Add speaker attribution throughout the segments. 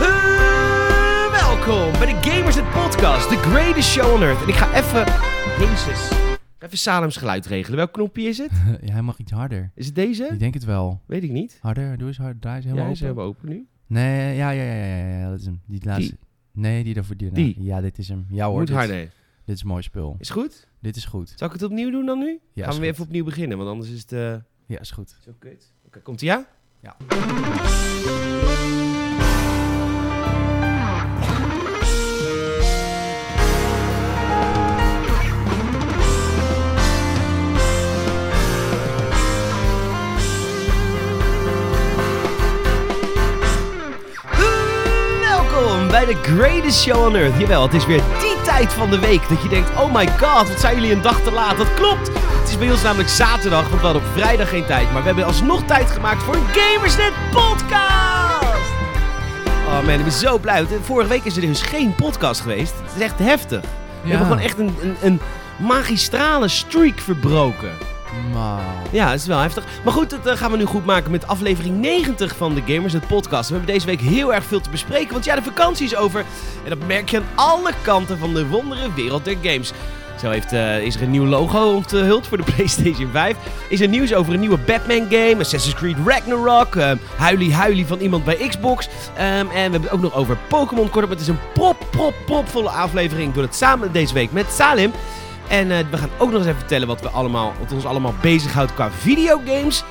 Speaker 1: Eh, welkom bij de Gamers het Podcast, the greatest show on earth. En ik ga even, jezus, even Salems geluid regelen. Welk knopje is het?
Speaker 2: Ja, Eh, hij mag iets harder.
Speaker 1: Is het deze?
Speaker 2: Ik denk het wel.
Speaker 1: Weet ik niet.
Speaker 2: Harder, doe eens hard. Draai eens
Speaker 1: Ja,
Speaker 2: helemaal
Speaker 1: hij is
Speaker 2: open.
Speaker 1: helemaal open nu.
Speaker 2: Nee, ja, ja, ja, ja, ja, ja, dat is hem. Die laatste. Nee, die daarvoor. Die, daarna.
Speaker 1: Die.
Speaker 2: Ja, dit is hem. Ja hoor,
Speaker 1: Moet
Speaker 2: dit,
Speaker 1: harder.
Speaker 2: dit is mooi spul.
Speaker 1: Is goed?
Speaker 2: Dit is goed.
Speaker 1: Zal ik het opnieuw doen dan nu?
Speaker 2: Ja,
Speaker 1: Gaan
Speaker 2: is
Speaker 1: we weer
Speaker 2: goed.
Speaker 1: even opnieuw beginnen, want anders is het eh,
Speaker 2: Ja, is goed.
Speaker 1: zo kut. Oké, komt ie ja?
Speaker 2: Ja.
Speaker 1: Welkom bij de greatest show on earth. Jawel, het is weer die tijd van de week dat je denkt, oh my god, wat zijn jullie een dag te laat. Dat klopt. Het is bij ons namelijk zaterdag, want we hadden op vrijdag geen tijd. Maar we hebben alsnog tijd gemaakt voor een Gamersnet podcast. Oh man, ik ben zo blij. want Vorige week is er dus geen podcast geweest. Het is echt heftig. We hebben gewoon echt een, een, een magistrale streak verbroken.
Speaker 2: Maar...
Speaker 1: Ja, het is wel heftig. Maar goed, dat eh, gaan we nu goed maken met aflevering 90 van de Gamers, het podcast. We hebben deze week heel erg veel te bespreken, want ja, de vakantie is over. En dat merk je aan alle kanten van de wondere wereld der games. Zo heeft, eh, is er een nieuw logo onthuld voor de PlayStation 5. Is er nieuws over een nieuwe Batman-game, Assassin's Creed Ragnarok, ehm huilie huilie van iemand bij Xbox. Ehm, en we hebben het ook nog over Pokémon. Kortom, het is een prop, prop, propvolle aflevering. Ik doe het samen deze week met Salim. En eh, we gaan ook nog eens even vertellen wat, we allemaal, wat ons allemaal bezighoudt qua videogames.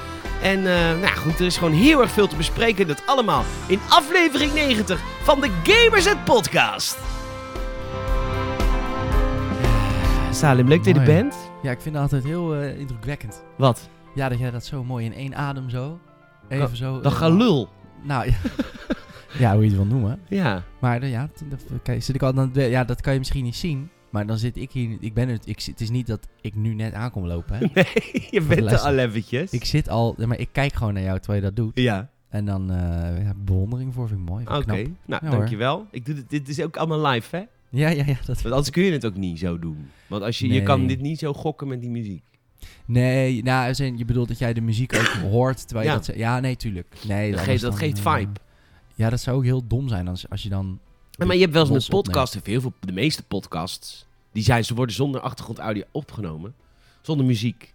Speaker 1: En eh, nou ja, goed, er is gewoon heel erg veel te bespreken. Dat allemaal in aflevering 90 van de Gamers het Podcast. Eh, Salim, leuk dat je er
Speaker 2: Mooi.
Speaker 1: bent.
Speaker 2: Ja, ik vind het altijd heel eh, indrukwekkend.
Speaker 1: Wat?
Speaker 2: Ja, dat jij dat zo mooi in één adem zo... Even zo...
Speaker 1: Dat
Speaker 2: eh,
Speaker 1: galul.
Speaker 2: Nou, ja. ja, hoe je het wil noemen.
Speaker 1: Ja.
Speaker 2: Maar eh, ja, t- dat, kijk, zit ik al, dan, ja, dat kan je misschien niet zien. Maar dan zit ik hier. Ik ben het. Ik, zit- het is niet dat ik nu net aankom lopen. Hè.
Speaker 1: Nee, je bent er
Speaker 2: Luister.
Speaker 1: al eventjes.
Speaker 2: Ik zit al. Maar ik kijk gewoon naar jou terwijl je dat doet.
Speaker 1: Ja,
Speaker 2: En dan eh, ja, bewondering voor vind ik mooi.
Speaker 1: oké.
Speaker 2: Vind ik Oh, knap.
Speaker 1: Nou,
Speaker 2: Ja, hoor.
Speaker 1: dankjewel. Ik doe dit, dit is ook allemaal live, hè?
Speaker 2: Ja, ja, ja. Dat,
Speaker 1: Want anders kun je het ook niet zo doen. Want als je, je
Speaker 2: Nee.
Speaker 1: kan dit niet zo gokken met die muziek.
Speaker 2: nee, nou, als in, je bedoelt dat jij de muziek ook hoort terwijl
Speaker 1: Ja.
Speaker 2: je dat. ze- Ja, nee, tuurlijk. Nee,
Speaker 1: Dat
Speaker 2: anders
Speaker 1: geeft- dat
Speaker 2: dan,
Speaker 1: geeft
Speaker 2: eh,
Speaker 1: vibe.
Speaker 2: ja, dat zou ook heel dom zijn als, als je dan.
Speaker 1: Ja, maar je hebt wel eens met
Speaker 2: los opneemt.
Speaker 1: podcasts, of heel veel, de meeste podcasts, die zijn, ze worden zonder achtergrondaudio opgenomen, zonder muziek.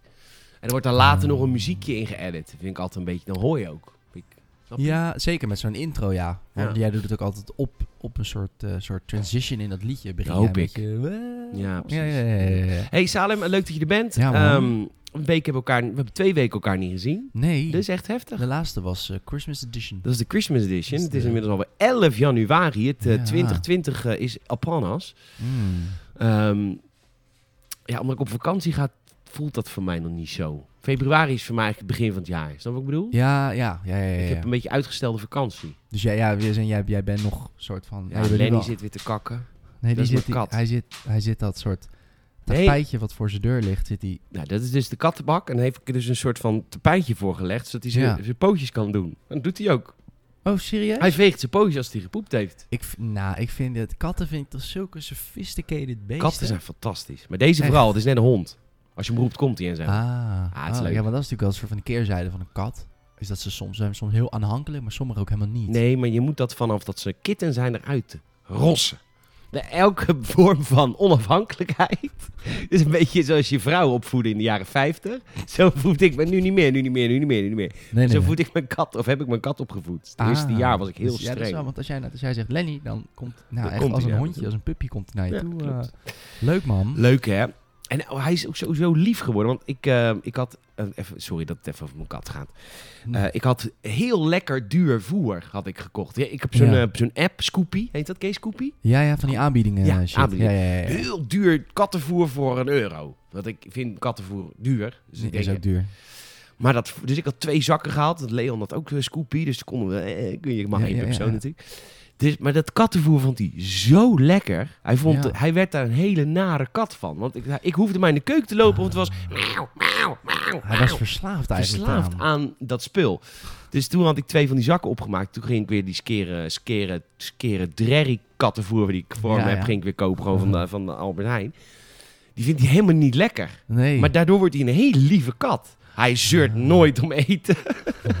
Speaker 1: En er wordt daar later
Speaker 2: Ah.
Speaker 1: nog een muziekje in geëdit. Dat vind ik altijd een beetje, dan hoor je ook. Vind ik- snap je?
Speaker 2: Ja, zeker met zo'n intro, ja. Want
Speaker 1: Ja.
Speaker 2: jij doet het ook altijd op, op een soort, eh, soort transition in dat liedje. Begin
Speaker 1: Dat hoop
Speaker 2: jij met
Speaker 1: ik.
Speaker 2: je-
Speaker 1: Ja, precies.
Speaker 2: Ja, ja, ja, ja, ja.
Speaker 1: Hey Salem, leuk dat je er bent.
Speaker 2: Ja, man.
Speaker 1: Ehm, een week hebben we elkaar, we hebben twee weken elkaar niet gezien.
Speaker 2: Nee,
Speaker 1: Dat is echt heftig.
Speaker 2: de laatste was eh, Christmas Edition.
Speaker 1: Dat is de Christmas edition.
Speaker 2: Dat is
Speaker 1: Het is
Speaker 2: de-
Speaker 1: inmiddels alweer 11 januari. Het eh,
Speaker 2: Ja.
Speaker 1: 2020 eh, is upon us.
Speaker 2: Mm.
Speaker 1: Ehm, ja, omdat ik op vakantie ga, voelt dat voor mij nog niet zo. Februari is voor mij eigenlijk het begin van het jaar. Snap je wat ik bedoel?
Speaker 2: Ja, ja, ja, ja, ja,
Speaker 1: Ik
Speaker 2: ja.
Speaker 1: heb een beetje uitgestelde vakantie.
Speaker 2: Dus jij, ja, weer zijn, jij, jij bent nog soort van...
Speaker 1: Ja,
Speaker 2: nou, je bent nu
Speaker 1: Lenny
Speaker 2: wel-
Speaker 1: zit weer te kakken.
Speaker 2: Nee,
Speaker 1: dat
Speaker 2: die
Speaker 1: is
Speaker 2: zit,
Speaker 1: mijn
Speaker 2: die-
Speaker 1: kat.
Speaker 2: hij, zit, hij zit dat soort
Speaker 1: Nee.
Speaker 2: tapijtje wat voor zijn deur ligt, zit hij...
Speaker 1: Nou, dat is dus de kattenbak. En daar heeft ik er dus een soort van tapijtje voor gelegd, zodat hij zijn
Speaker 2: Ja.
Speaker 1: zijn pootjes kan doen. En dat doet hij ook.
Speaker 2: Oh, serieus?
Speaker 1: Hij veegt zijn pootjes als hij gepoept heeft.
Speaker 2: Ik, v- nou, ik vind het... Katten vind ik toch zulke sophisticated beesten.
Speaker 1: Katten zijn fantastisch. Maar deze
Speaker 2: Echt?
Speaker 1: vooral, het is net een hond. Als je hem roept, komt hij en zo.
Speaker 2: Ah,
Speaker 1: Ah, het is
Speaker 2: oh,
Speaker 1: leuk.
Speaker 2: ja, maar dat is natuurlijk wel een soort van de keerzijde van een kat. Is dat ze soms, zijn soms heel aanhankelijk, maar sommigen ook helemaal niet.
Speaker 1: Nee, maar je moet dat vanaf dat ze kitten zijn eruit rossen. De- Elke vorm van onafhankelijkheid is een beetje zoals je vrouw opvoedde in de jaren 50. Zo voed ik me nu niet meer, nu niet meer, nu niet meer, nu niet meer.
Speaker 2: nee,
Speaker 1: Zo
Speaker 2: nee.
Speaker 1: voed ik mijn kat, of heb ik mijn kat opgevoed. Het
Speaker 2: Ah,
Speaker 1: eerste jaar was ik heel
Speaker 2: dus- Ja, dat is
Speaker 1: streng.
Speaker 2: wel, want als jij, nou- als jij zegt Lenny, dan komt nou,
Speaker 1: Dan
Speaker 2: echt
Speaker 1: komt
Speaker 2: als
Speaker 1: hij naar je
Speaker 2: een hondje,
Speaker 1: toe.
Speaker 2: als een puppy komt hij naar
Speaker 1: Ja,
Speaker 2: je toe.
Speaker 1: klopt.
Speaker 2: eh, leuk man.
Speaker 1: Leuk hè? En oh, hij is ook sowieso lief geworden, want ik, eh, ik had... eh, even, sorry dat het even over mijn kat gaat.
Speaker 2: Hm.
Speaker 1: Eh, ik had heel lekker duur voer had ik gekocht. Ja, ik heb zo'n
Speaker 2: Ja.
Speaker 1: eh, zo'n app, Scoopy, heet dat, Kees Scoopy?
Speaker 2: ja, ja, van die aanbiedingen.
Speaker 1: Ja,
Speaker 2: eh, shit.
Speaker 1: aanbiedingen. Dus,
Speaker 2: Ja, ja, ja, ja.
Speaker 1: heel duur kattenvoer voor een euro. Want ik vind kattenvoer duur. Dus ik
Speaker 2: is
Speaker 1: denk,
Speaker 2: ook duur.
Speaker 1: maar dat, dus ik had twee zakken gehaald. Dat Leon had ook een Scoopy, dus toen konden we, eh, kun je, mag
Speaker 2: Ja,
Speaker 1: één
Speaker 2: ja,
Speaker 1: per
Speaker 2: ja,
Speaker 1: persoon
Speaker 2: ja.
Speaker 1: natuurlijk. Dus, maar dat kattenvoer vond hij zo lekker. Hij, vond,
Speaker 2: Ja.
Speaker 1: hij werd daar een hele nare kat van. Want ik, ik hoefde maar in de keuken te lopen, want het was miauw, miauw, miauw,
Speaker 2: Ah. Hij was verslaafd eigenlijk
Speaker 1: verslaafd
Speaker 2: aan.
Speaker 1: aan dat spul. Dus toen had ik twee van die zakken opgemaakt. Toen ging ik weer die skere, skere, skere drerry kattenvoer die ik voor
Speaker 2: Ja,
Speaker 1: me heb,
Speaker 2: ja.
Speaker 1: ging ik weer kopen gewoon van de, van de Albert Heijn. Die vindt hij helemaal niet lekker.
Speaker 2: Nee.
Speaker 1: Maar daardoor wordt hij een hele lieve kat. Hij zeurt nooit om eten.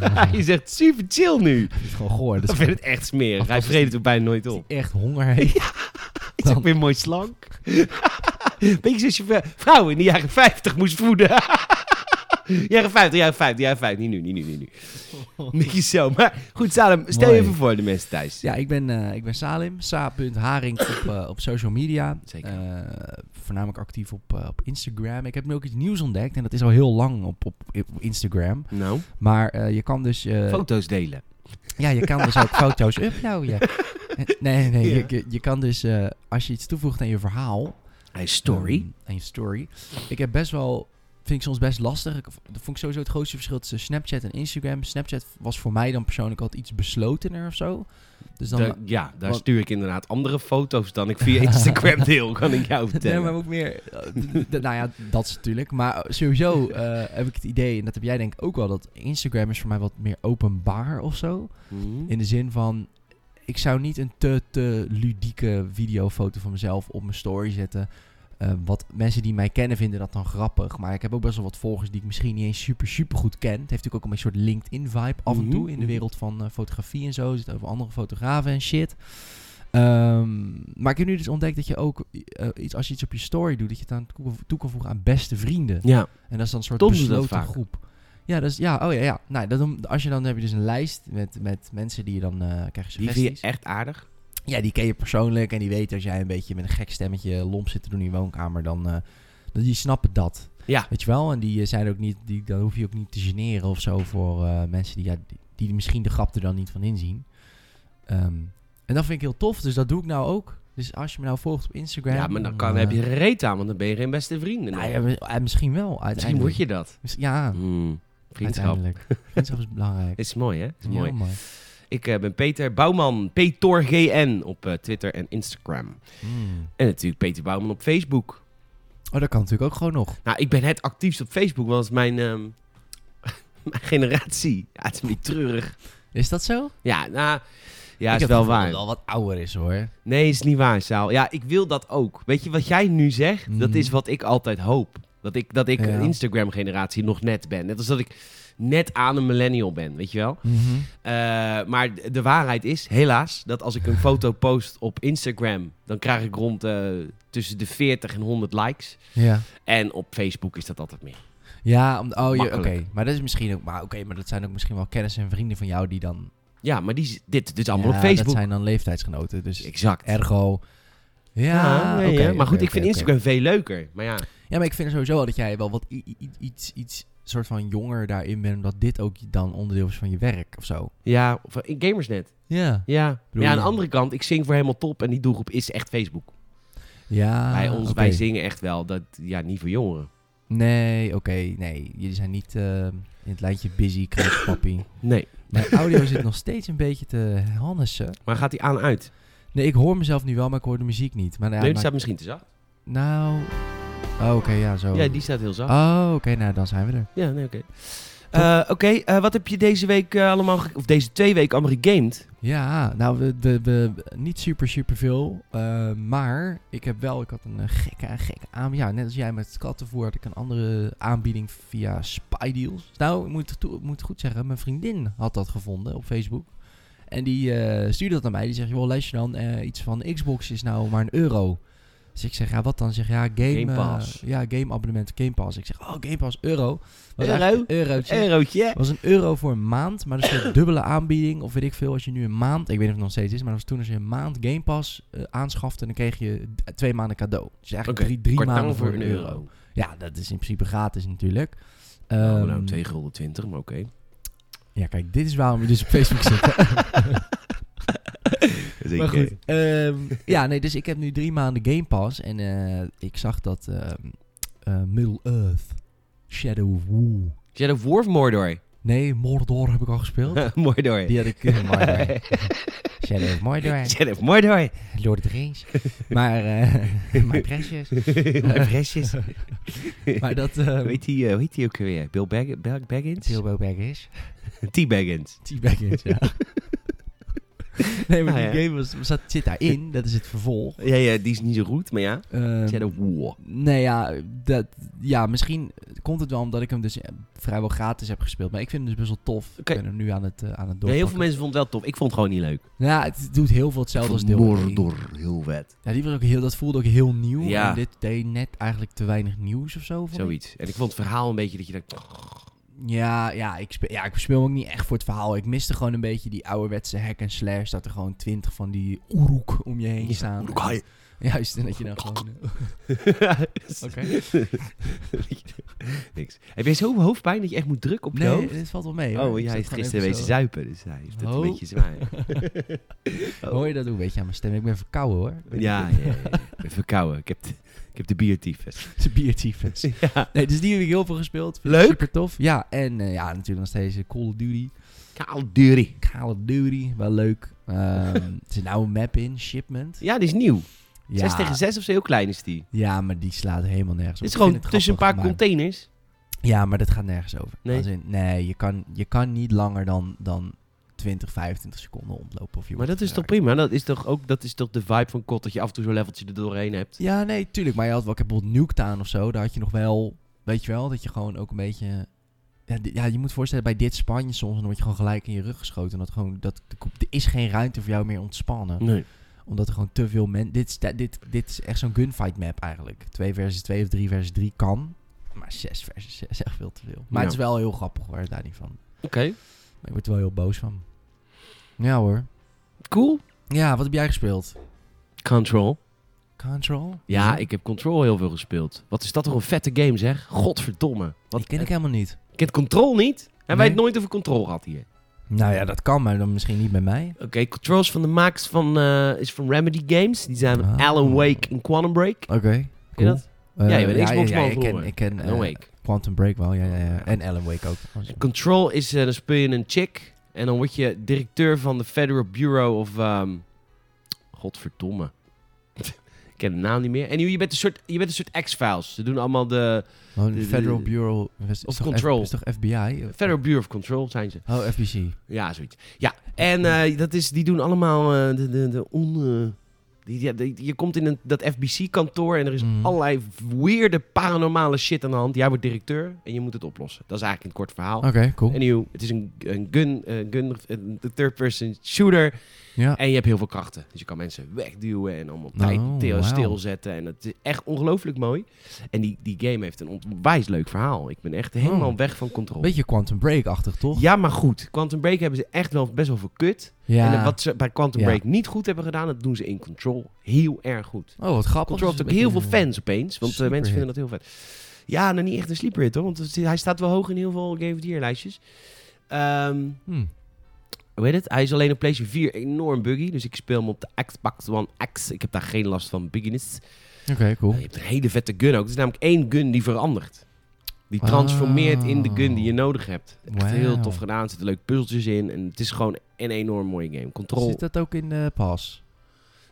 Speaker 1: hij zegt super chill nu.
Speaker 2: dat is gewoon goor. Dat
Speaker 1: Ik
Speaker 2: is
Speaker 1: vind het echt smerig. Hij
Speaker 2: Alvast is
Speaker 1: vreet het ook bijna nooit op.
Speaker 2: die echt honger heeft.
Speaker 1: Hij is ook weer mooi slank. Beetje zoals je v- vrouwen in de jaren 50 moest voeden. jaren 50, jaren 50, jaren 50. Niet nu, niet nu, niet nu. Beetje zo. Maar goed, Salem, stel
Speaker 2: Mooi.
Speaker 1: je even voor de mensen thuis.
Speaker 2: Ja, ik ben, eh, ik ben Salim, sa.haring op, eh, op social media.
Speaker 1: Zeker.
Speaker 2: Eh, voornamelijk actief op, eh, op Instagram. Ik heb nu ook iets nieuws ontdekt en dat is al heel lang op, op, op Instagram.
Speaker 1: Nou,
Speaker 2: Maar eh, je kan dus... eh,
Speaker 1: foto's delen.
Speaker 2: ja, je kan dus ook foto's uploaden. Nee, nee,
Speaker 1: Ja.
Speaker 2: je- je, je kan dus eh, als je iets toevoegt aan je verhaal...
Speaker 1: Hij is story.
Speaker 2: ehm, aan je story. Ik heb best wel... Vind ik soms best lastig. Ik, dat vond ik sowieso het grootste verschil tussen Snapchat en Instagram. Snapchat was voor mij dan persoonlijk altijd iets beslotener of zo. Dus dan,
Speaker 1: Da- ja, daar
Speaker 2: wat-
Speaker 1: stuur ik inderdaad andere foto's dan ik via Instagram deel, kan ik jou
Speaker 2: Nee,
Speaker 1: vertellen.
Speaker 2: maar ook meer... d- d- nou ja, dat is natuurlijk. Maar sowieso eh, heb ik het idee, en dat heb jij denk ik ook wel, dat Instagram is voor mij wat meer openbaar of zo.
Speaker 1: Hmm.
Speaker 2: In de zin van, ik zou niet een te, te ludieke videofoto van mezelf op mijn story zetten. Eh, wat mensen die mij kennen vinden dat dan grappig. Maar ik heb ook best wel wat volgers die ik misschien niet eens super, super goed ken. Het heeft natuurlijk ook een beetje een soort LinkedIn-vibe af en
Speaker 1: Mhm,
Speaker 2: toe in de
Speaker 1: mhm.
Speaker 2: wereld van eh, fotografie en zo. Er zitten over andere fotografen en shit. Ehm, maar ik heb nu dus ontdekt dat je ook, eh, iets, als je iets op je story doet, dat je het aan toe, toe kan voegen aan beste vrienden.
Speaker 1: Ja,
Speaker 2: En dat is dan een soort
Speaker 1: Tom doet dat
Speaker 2: besloten
Speaker 1: vaak.
Speaker 2: groep. Ja, dus, ja, oh ja, ja. Nou, dat, dan- als je dan heb je dus een lijst met, met mensen die je dan eh krijg je
Speaker 1: die
Speaker 2: suggesties.
Speaker 1: vind je echt aardig.
Speaker 2: Ja, die ken je persoonlijk en die weten als jij een beetje met een gek stemmetje lomp zit te doen in je woonkamer, dan eh, dat die snappen dat.
Speaker 1: Ja.
Speaker 2: Weet je wel? En die eh, zijn ook niet, die, dan hoef je ook niet te generen of zo voor eh, mensen die, ja, die, die misschien de grap er dan niet van inzien. Ehm, en dat vind ik heel tof, dus dat doe ik nou ook. Dus als je me nou volgt op Instagram... eh,
Speaker 1: Ja, maar dan kan, heb je er reet aan, want dan ben je geen beste vrienden.
Speaker 2: Nou,
Speaker 1: meer.
Speaker 2: ja, maar- eh, misschien wel,
Speaker 1: Misschien
Speaker 2: uiteindelijk.
Speaker 1: word je dat.
Speaker 2: Miss- Ja,
Speaker 1: Hmm, vriendschap.
Speaker 2: uiteindelijk. Vriendschap is belangrijk.
Speaker 1: Is mooi, hè? Is
Speaker 2: Heel
Speaker 1: mooi. Ik eh, ben Peter Bouwman, E PetorGN op eh, Twitter en Instagram.
Speaker 2: Mm.
Speaker 1: En natuurlijk Peter Bouwman op Facebook.
Speaker 2: Oh, dat kan natuurlijk ook gewoon nog.
Speaker 1: Nou, ik ben het actiefst op Facebook, want dat is mijn, ehm, mijn generatie. Ja, het is niet treurig.
Speaker 2: Is dat zo?
Speaker 1: Ja, nou, ja,
Speaker 2: Ik
Speaker 1: is
Speaker 2: heb
Speaker 1: wel
Speaker 2: het gevoel dat
Speaker 1: waar.
Speaker 2: het al wat ouder is, hoor.
Speaker 1: Nee, is niet waar, Saal. Ja, ik wil dat ook. Weet je, wat jij nu zegt, dat
Speaker 2: Mhm.
Speaker 1: is wat ik altijd hoop. Dat ik, dat ik
Speaker 2: Ja.
Speaker 1: een Instagram-generatie nog net ben. Net als dat ik net aan een millennial ben, weet je wel? Eh, maar d- de waarheid is, helaas, dat als ik een foto post op Instagram, dan krijg ik rond eh, tussen de 40 en 100 likes.
Speaker 2: Ja.
Speaker 1: En op Facebook is dat altijd meer.
Speaker 2: Ja, om, oh, je- oké.
Speaker 1: Makkelijk.
Speaker 2: Maar dat is misschien ook... Maar oké, maar dat zijn ook misschien wel kennis en vrienden van jou die dan...
Speaker 1: Ja, maar die, z- dit, dit is allemaal
Speaker 2: Ja,
Speaker 1: op Facebook.
Speaker 2: dat zijn dan leeftijdsgenoten. Dus
Speaker 1: Exact.
Speaker 2: ergo... Ja,
Speaker 1: Ja, ja,
Speaker 2: oké,
Speaker 1: ja. Maar
Speaker 2: oké,
Speaker 1: goed, ik
Speaker 2: oké,
Speaker 1: vind
Speaker 2: oké.
Speaker 1: Instagram veel leuker. Maar ja,
Speaker 2: Ja, maar ik vind sowieso wel dat jij wel wat i- i- iets, iets soort van jonger daarin bent. Omdat dit ook dan onderdeel is van je werk of zo.
Speaker 1: ja of- eh, in Gamersnet.
Speaker 2: Ja.
Speaker 1: Ja.
Speaker 2: Bedoel
Speaker 1: ja, aan de
Speaker 2: je?
Speaker 1: andere kant, ik zing voor helemaal top en die doelgroep is echt Facebook.
Speaker 2: Ja,
Speaker 1: wij, ons,
Speaker 2: Ah, oké.
Speaker 1: wij zingen echt wel, dat, ja, niet voor jongeren.
Speaker 2: Nee, oké, nee. Jullie zijn niet eh, in het lijntje busy, kruispappie.
Speaker 1: Nee,
Speaker 2: Mijn audio zit nog steeds een beetje te hannessen.
Speaker 1: maar gaat die aan uit?
Speaker 2: Nee, ik hoor mezelf nu wel, maar ik hoor de muziek niet. Maar nou, ja,
Speaker 1: nee, dus die
Speaker 2: maakt-
Speaker 1: staat misschien te zacht.
Speaker 2: nou... Oh, oké, ja, zo.
Speaker 1: Ja, die staat heel zacht.
Speaker 2: Oh, oké, nou, dan zijn we er.
Speaker 1: Ja, nee, oké. Eh, oké, eh, wat heb je deze week eh, allemaal, ge- of deze twee weken allemaal gegamed?
Speaker 2: Ja, nou, we, we, we- niet super, super veel. eh, maar ik heb wel, ik had een eh, gekke, gekke aanbieding. Ja, net als jij met kattenvoer had ik een andere aanbieding via Spy Deals. Nou, ik moet, toe- ik moet goed zeggen, mijn vriendin had dat gevonden op Facebook. En die eh, stuurde dat naar mij. Die zegt, joh, luister dan, eh, iets van Xbox is nou maar een euro. Dus ik zeg, ja, wat dan? Zeg, ja, game,
Speaker 1: Game
Speaker 2: eh,
Speaker 1: Pass.
Speaker 2: ja, game abonnement, Game Pass. Ik zeg, oh, Game Pass, euro. Was
Speaker 1: Euro?
Speaker 2: eigenlijk een Eurotje.
Speaker 1: Eurotje.
Speaker 2: Het was een euro voor een maand, maar dat is een dubbele aanbieding. Of weet ik veel, als je nu een maand, ik weet niet of het nog steeds is, maar dat was toen als je een maand Game Pass eh, aanschafte, dan kreeg je d- twee maanden cadeau. Dus eigenlijk
Speaker 1: Oké,
Speaker 2: drie, drie
Speaker 1: kwartaal
Speaker 2: maanden voor een euro. Ja, dat is in principe gratis natuurlijk.
Speaker 1: Oh,
Speaker 2: Ehm,
Speaker 1: nou, 2 gulden 20, maar oké.
Speaker 2: ja, kijk, dit is waarom je dus op Facebook zit. maar goed. ehm, ja, nee, dus ik heb nu drie maanden Game Pass en eh, ik zag dat ehm, eh, Middle-earth, Shadow of War.
Speaker 1: Shadow of War of Mordor?
Speaker 2: Nee, Mordor heb ik al gespeeld.
Speaker 1: Mordor.
Speaker 2: Die had ik kunnen maken. Shadow of Mordor.
Speaker 1: Shadow of Mordor.
Speaker 2: Lord of the Rings. maar, eh My Precious.
Speaker 1: Mijn precious.
Speaker 2: maar dat... ehm,
Speaker 1: Weet die, eh, hoe heet die ook weer? Bill Bag Bag Baggins?
Speaker 2: Bilbo Baggins.
Speaker 1: T. Baggins.
Speaker 2: T-Baggins, ja. nee, maar
Speaker 1: Nou
Speaker 2: die
Speaker 1: ja.
Speaker 2: game was, zat, zit daarin. Dat is het vervolg.
Speaker 1: Ja, ja, die is niet zo goed, maar ja.
Speaker 2: Ehm,
Speaker 1: Shadow of War.
Speaker 2: Nee, ja, dat, ja, misschien komt het wel omdat ik hem dus eh, vrijwel gratis heb gespeeld. Maar ik vind hem dus best wel tof.
Speaker 1: Oké.
Speaker 2: Ik ben hem nu aan het, eh,
Speaker 1: Ja,
Speaker 2: aan het
Speaker 1: heel veel
Speaker 2: doorpakken.
Speaker 1: mensen vonden het wel tof. Ik vond het gewoon niet leuk.
Speaker 2: Ja, het doet heel veel hetzelfde als
Speaker 1: Van
Speaker 2: deel één.
Speaker 1: Mordor, heel vet.
Speaker 2: Ja, die was ook heel, dat voelde ook heel nieuw.
Speaker 1: Ja.
Speaker 2: En dit deed net eigenlijk te weinig nieuws of zo. vond ik.
Speaker 1: Zoiets. En ik vond het verhaal een beetje dat je dacht...
Speaker 2: Ja, ja, ik speel, ja, ik speel hem ook niet echt voor het verhaal. Ik miste gewoon een beetje die ouderwetse hack en slash. Dat er gewoon twintig van die oeroek om je heen staan.
Speaker 1: Oeroekai.
Speaker 2: Juist, en dat je dan gewoon... eh, Oké.
Speaker 1: Niks. Heb jij zoveel hoofdpijn dat je echt moet drukken op je
Speaker 2: Nee,
Speaker 1: hoofd?
Speaker 2: dit valt wel mee. hoor.
Speaker 1: Oh,
Speaker 2: Ik
Speaker 1: ja, hij
Speaker 2: zat
Speaker 1: is
Speaker 2: gewoon
Speaker 1: gisteren
Speaker 2: even
Speaker 1: wezen
Speaker 2: zo-
Speaker 1: zuipen, dus hij heeft het
Speaker 2: Oh.
Speaker 1: een beetje zwaar. Oh.
Speaker 2: Hoor je dat ook een beetje aan mijn stem? Ik ben verkouden hoor.
Speaker 1: Ja, ja, ja. Ik ben verkouden. Ik heb de, ik heb de biertyfus.
Speaker 2: De biertyfus.
Speaker 1: Ja.
Speaker 2: Nee, dus die heb ik heel veel gespeeld. Vind ik
Speaker 1: Leuk.
Speaker 2: Super tof. Ja, en eh, ja, natuurlijk nog steeds eh, Call of Duty.
Speaker 1: Kaal Dury.
Speaker 2: Call of Duty, wel leuk. Ehm, er zit nou een map in, Shipment.
Speaker 1: Ja, die is nieuw.
Speaker 2: Ja,
Speaker 1: 6 tegen 6 of zo, heel klein is die.
Speaker 2: Ja, maar die slaat helemaal nergens op.
Speaker 1: Het is
Speaker 2: Ik
Speaker 1: gewoon
Speaker 2: vind het
Speaker 1: tussen een paar
Speaker 2: grappig, maar-
Speaker 1: containers.
Speaker 2: Ja, maar dat gaat nergens over.
Speaker 1: Nee.
Speaker 2: Als in, nee, je kan, je kan niet langer dan, dan 20, 25 seconden omlopen. Of je
Speaker 1: Maar
Speaker 2: wordt
Speaker 1: dat is toch
Speaker 2: geraakt.
Speaker 1: prima? Dat is toch ook dat is toch de vibe van kot dat je af en toe zo'n leveltje er doorheen hebt?
Speaker 2: Ja, nee, tuurlijk. Maar je had wel, ik heb bijvoorbeeld Nuketown of zo. Daar had je nog wel, weet je wel, dat je gewoon ook een beetje... Ja, di- ja, je moet voorstellen, bij dit Spanje soms, dan word je gewoon gelijk in je rug geschoten. En dat gewoon, dat, er is geen ruimte voor jou meer ontspannen.
Speaker 1: Nee.
Speaker 2: Omdat er gewoon te veel mensen... Dit, is- dit, dit is echt zo'n gunfight map eigenlijk. 2 versus 2 of 3 versus 3 kan. Maar 6 versus 6 is echt veel te veel. Maar
Speaker 1: Ja.
Speaker 2: het is wel heel grappig hoor, daar niet van.
Speaker 1: Oké,
Speaker 2: Maar ik word er wel heel boos van. Ja hoor.
Speaker 1: cool.
Speaker 2: Ja, wat heb jij gespeeld?
Speaker 1: Control.
Speaker 2: Control?
Speaker 1: Ja, ik heb Control heel veel gespeeld. Wat is dat toch een vette game zeg? Godverdomme. Wat,
Speaker 2: Die ken ik eh, helemaal niet.
Speaker 1: Ik ken Control niet. Hebben wij
Speaker 2: Nee.
Speaker 1: het nooit over Control gehad hier?
Speaker 2: Nou ja, dat kan, maar dan misschien niet bij mij.
Speaker 1: Oké, Control is van de makers van, eh, is van Remedy Games. Die zijn
Speaker 2: Ah.
Speaker 1: Alan Wake en Quantum Break.
Speaker 2: Oké,
Speaker 1: Ken je dat?
Speaker 2: Eh,
Speaker 1: Ja, je bent Xbox
Speaker 2: ja,
Speaker 1: man
Speaker 2: ik ken,
Speaker 1: vroeger.
Speaker 2: ik ken
Speaker 1: Alan
Speaker 2: eh,
Speaker 1: Wake.
Speaker 2: Quantum Break wel, ja, ja, ja. En Alan Wake ook. Oh, zo.
Speaker 1: Control is, eh, dan speel je een chick. En dan word je directeur van de Federal Bureau of... ehm, Godverdomme. ik ken de naam niet meer. En je bent een soort, je bent een soort X-Files. Ze doen allemaal de...
Speaker 2: Oh,
Speaker 1: de-
Speaker 2: de
Speaker 1: de-
Speaker 2: Federal Bureau of is
Speaker 1: Of
Speaker 2: toch
Speaker 1: Control.
Speaker 2: F- is toch FBI?
Speaker 1: Federal Bureau of Control zijn ze.
Speaker 2: Oh, FBC.
Speaker 1: Ja, zoiets. Ja, en eh, dat is, die doen allemaal eh, de, de, de on... eh, die, die- die- je komt in een, dat FBC-kantoor en er is
Speaker 2: Mhm.
Speaker 1: allerlei weirde paranormale shit aan de hand. Jij wordt directeur en je moet het oplossen. Dat is eigenlijk een kort verhaal.
Speaker 2: Oké, cool.
Speaker 1: Anyhow, het is een, een gun, eh, gun een third-person shooter.
Speaker 2: Ja.
Speaker 1: En je hebt heel veel krachten. Dus je kan mensen wegduwen en allemaal
Speaker 2: Oh,
Speaker 1: tijd til-
Speaker 2: wauw.
Speaker 1: stilzetten. En het is echt ongelooflijk mooi. En die, die game heeft een onwijs leuk verhaal. Ik ben echt helemaal
Speaker 2: Oh.
Speaker 1: weg van controle.
Speaker 2: Beetje Quantum Break-achtig, toch?
Speaker 1: Ja, maar goed. Quantum Break hebben ze echt wel best wel veel kut.
Speaker 2: Ja.
Speaker 1: En wat ze bij Quantum
Speaker 2: Ja.
Speaker 1: Break niet goed hebben gedaan, dat doen ze in Control heel erg goed.
Speaker 2: Oh, wat grappig.
Speaker 1: Control heeft
Speaker 2: Dus
Speaker 1: ook
Speaker 2: een
Speaker 1: heel veel
Speaker 2: beetje-
Speaker 1: fans opeens. Want eh,
Speaker 2: Superhit.
Speaker 1: mensen vinden dat heel vet. Ja, nou niet echt een sleeper hit hoor. Want het- hij staat wel hoog in heel veel Game of the Year lijstjes. Ehm,
Speaker 2: Hmm.
Speaker 1: hoe heet het? Hij is alleen op PlayStation 4 enorm buggy. Dus ik speel hem op de Xbox One X. Ik heb daar geen last van bugginess.
Speaker 2: Oké, cool.
Speaker 1: Eh, je hebt een hele vette gun ook. Het is namelijk één gun die verandert. Die transformeert in de gun die je nodig hebt. Echt
Speaker 2: Ah. Wauw.
Speaker 1: heel tof gedaan. Er zitten leuke puzzeltjes in. En het is gewoon een enorm mooie game. Control.
Speaker 2: Zit dat ook in eh, de Pass?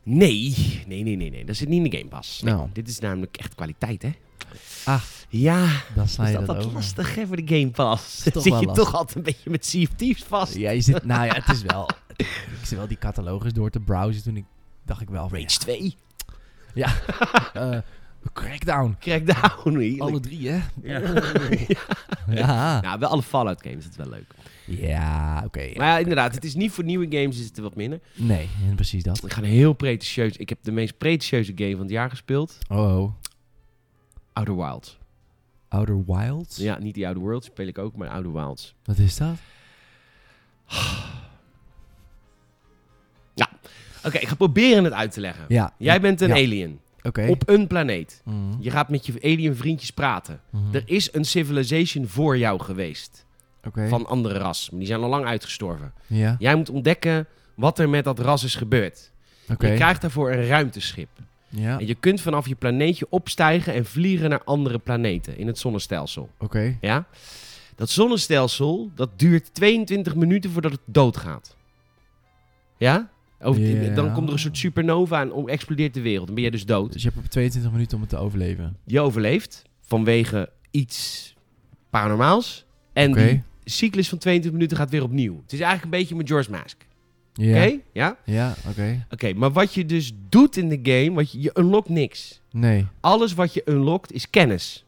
Speaker 1: Nee, nee, nee, nee, nee. Dat zit niet in de Game Pass. Nee.
Speaker 2: Nou.
Speaker 1: Dit is namelijk echt kwaliteit, hè?
Speaker 2: Ah.
Speaker 1: Ja,
Speaker 2: Dan sla
Speaker 1: is
Speaker 2: je
Speaker 1: dat, dat
Speaker 2: over.
Speaker 1: lastig, hè, voor de Game Pass?
Speaker 2: Is toch
Speaker 1: Zit
Speaker 2: wel
Speaker 1: je
Speaker 2: lastig.
Speaker 1: toch altijd een beetje met CFT's vast?
Speaker 2: Ja, je zit, nou ja, het is wel... ik zit wel die catalogus door te browsen toen ik... Dacht ik wel van,
Speaker 1: Rage 2.
Speaker 2: ja, eh, Crackdown.
Speaker 1: Crackdown. heerlijk.
Speaker 2: Alle drie, hè?
Speaker 1: Ja.
Speaker 2: Ja.
Speaker 1: Nou, wel alle Fallout games. Dat is wel leuk.
Speaker 2: Ja, oké. ja.
Speaker 1: Maar ja, inderdaad. Het is niet voor nieuwe games. Is het er wat minder.
Speaker 2: Nee, en precies dat.
Speaker 1: Ik ga een heel pretentieus. Ik heb de meest pretentieuze game van het jaar gespeeld.
Speaker 2: Oh, oh.
Speaker 1: Outer Wilds.
Speaker 2: Outer Wilds?
Speaker 1: Ja, niet die Outer Worlds speel ik ook, maar Outer Wilds.
Speaker 2: Wat is dat?
Speaker 1: Oké, ik ga proberen het uit te leggen.
Speaker 2: Ja.
Speaker 1: Jij bent een
Speaker 2: Ja.
Speaker 1: alien
Speaker 2: Oké.
Speaker 1: op een planeet.
Speaker 2: Mhm.
Speaker 1: Je gaat met je alien vriendjes praten.
Speaker 2: Mhm.
Speaker 1: Er is een civilization voor jou geweest.
Speaker 2: Oké.
Speaker 1: Van andere ras. Maar die zijn al lang uitgestorven.
Speaker 2: Ja.
Speaker 1: Jij moet ontdekken wat er met dat ras is gebeurd.
Speaker 2: Oké.
Speaker 1: Je krijgt daarvoor een ruimteschip.
Speaker 2: Ja.
Speaker 1: En
Speaker 2: Oké.
Speaker 1: je kunt vanaf je planeetje opstijgen en vliegen naar andere planeten in het zonnestelsel. Ja? Dat zonnestelsel, dat duurt 22 minuten voordat het doodgaat. Ja? Over-
Speaker 2: Ja.
Speaker 1: Dan komt er een soort supernova en om- explodeert de wereld. Dan ben jij dus dood.
Speaker 2: Dus je hebt op 22 minuten om het te overleven.
Speaker 1: Je overleeft vanwege iets paranormaals. En
Speaker 2: Oké.
Speaker 1: die cyclus van 22 minuten gaat weer opnieuw. Het is eigenlijk een beetje met George Mask. Oké?
Speaker 2: Ja.
Speaker 1: Ja?
Speaker 2: Ja, oké.
Speaker 1: Oké, maar wat je dus doet in de game, wat je, je unlockt niks.
Speaker 2: Nee.
Speaker 1: Alles wat je unlockt is kennis.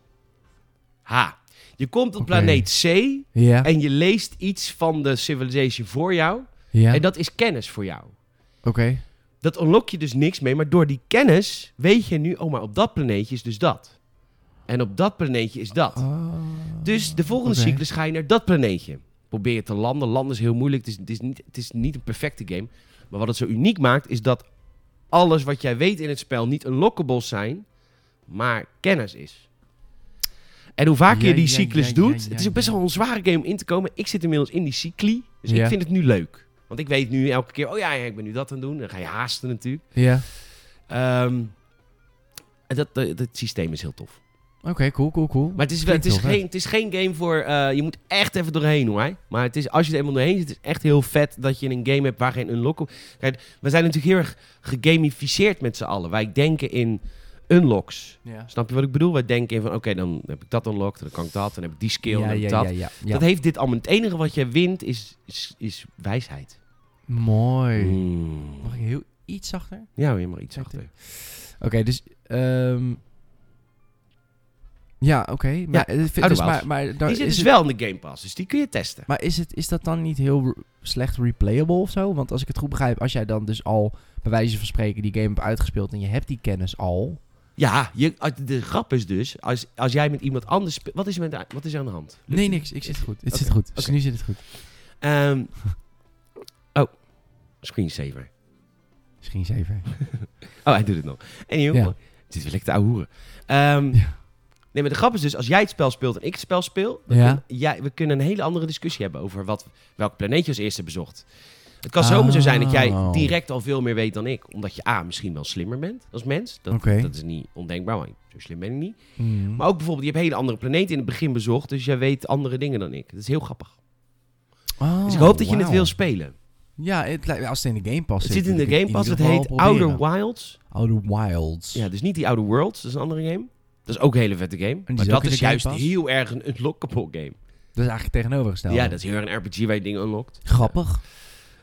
Speaker 1: Ha. Je komt op
Speaker 2: Oké.
Speaker 1: planeet C
Speaker 2: Ja.
Speaker 1: en je leest iets van de civilization voor jou.
Speaker 2: Ja.
Speaker 1: En
Speaker 2: Oké.
Speaker 1: dat is kennis voor jou. Dat unlock je dus niks mee, maar door die kennis weet je nu, oh maar op dat planeetje is dus dat. En op dat planeetje is dat.
Speaker 2: Ah.
Speaker 1: Dus de volgende
Speaker 2: Oké.
Speaker 1: cyclus ga je naar dat planeetje. Probeer je te landen. Landen is heel moeilijk. Het is, het, is niet, het is niet een perfecte game. Maar wat het zo uniek maakt, is dat alles wat jij weet in het spel niet unlockables zijn, maar kennis is. En hoe vaker
Speaker 2: Ja,
Speaker 1: je die
Speaker 2: ja,
Speaker 1: cyclus
Speaker 2: ja,
Speaker 1: doet,
Speaker 2: ja, ja,
Speaker 1: het is ook best
Speaker 2: ja.
Speaker 1: wel een zware game om in te komen. Ik zit inmiddels in die cycli, dus ik
Speaker 2: Ja.
Speaker 1: vind het nu leuk. Want ik weet nu elke keer, oh ja, ja, ik ben nu dat aan het doen. Dan ga je haasten natuurlijk.
Speaker 2: Ja.
Speaker 1: Ehm, en dat, dat, dat systeem is heel tof.
Speaker 2: Oké, cool, cool, cool.
Speaker 1: Maar het is, wel, het, is
Speaker 2: Klinkt heel
Speaker 1: geen, het is geen game voor... eh, je moet echt even doorheen hoor. hè. Maar het is, als je er eenmaal doorheen zit, het is echt heel vet dat je een game hebt waar geen unlock op... Kijk, we zijn natuurlijk heel erg gegamificeerd met z'n allen. Wij denken in unlocks.
Speaker 2: Ja.
Speaker 1: Snap je wat ik bedoel? Wij denken in van, oké, dan heb ik dat unlocked, dan kan ik dat, dan heb ik die skill,
Speaker 2: ja,
Speaker 1: dan heb ik
Speaker 2: ja,
Speaker 1: dat.
Speaker 2: ja, ja, ja.
Speaker 1: Dat heeft dit allemaal. Het enige wat jij wint is, is, is wijsheid.
Speaker 2: Mooi.
Speaker 1: Mm.
Speaker 2: Mag ik heel iets zachter?
Speaker 1: Ja, weer maar iets
Speaker 2: Kijk,
Speaker 1: achter.
Speaker 2: Oké, dus... ehm, ja, oké. maar, eh, vind- dus,
Speaker 1: Ouderwets.
Speaker 2: maar, maar, daar
Speaker 1: Die zit dus
Speaker 2: is het,
Speaker 1: wel in de Game Pass, dus die kun je testen.
Speaker 2: maar is, het, is dat dan niet heel re- slecht replayable of zo? Want als ik het goed begrijp, als jij dan dus al bij wijze van spreken die game hebt uitgespeeld en je hebt die kennis al.
Speaker 1: Ja, je, de grap is dus, als, als jij met iemand anders speelt... Wat is er, met, wat is er aan de hand?
Speaker 2: Nee, niks. Ik zit goed. Het zit
Speaker 1: Oké,
Speaker 2: goed. Dus
Speaker 1: oké.
Speaker 2: nu zit het goed.
Speaker 1: Ehm, oh, screensaver.
Speaker 2: Misschien zeven.
Speaker 1: Oh, hij doet het nog. Anywho,
Speaker 2: Ja.
Speaker 1: mooi. dit wil ik te ouwe hoeren. Ehm,
Speaker 2: Ja.
Speaker 1: Nee, maar de grap is dus, als jij het spel speelt en ik het spel speel... dan
Speaker 2: Ja.
Speaker 1: kun- jij, we kunnen een hele andere discussie hebben over wat, welk planeet je als eerste bezocht. Het kan
Speaker 2: Ah.
Speaker 1: zomaar zo zijn dat jij direct al veel meer weet dan ik. Omdat je A, misschien wel slimmer bent als mens. Dat,
Speaker 2: Oké.
Speaker 1: dat is niet ondenkbaar, want zo slim ben ik niet.
Speaker 2: Mm.
Speaker 1: Maar ook bijvoorbeeld, je hebt hele andere planeten in het begin bezocht... dus jij weet andere dingen dan ik. Dat is heel grappig.
Speaker 2: Oh.
Speaker 1: Dus ik hoop dat je het wil spelen.
Speaker 2: Ja, het, lijkt- als het in de Game Pass
Speaker 1: Het
Speaker 2: zit.
Speaker 1: zit in
Speaker 2: wil
Speaker 1: de
Speaker 2: ik het
Speaker 1: Game Pass. Het
Speaker 2: ieder geval
Speaker 1: heet
Speaker 2: proberen.
Speaker 1: Outer Wilds.
Speaker 2: Outer Wilds.
Speaker 1: Ja, dus niet die Outer Worlds. Dat is een andere game. Dat is ook een hele vette game.
Speaker 2: is
Speaker 1: Maar
Speaker 2: ook
Speaker 1: dat
Speaker 2: in de
Speaker 1: is
Speaker 2: Game
Speaker 1: juist
Speaker 2: Pass?
Speaker 1: heel erg een unlockable game.
Speaker 2: Dat is eigenlijk tegenovergesteld.
Speaker 1: Ja, dat is heel erg een RPG waar je dingen unlockt.
Speaker 2: Grappig.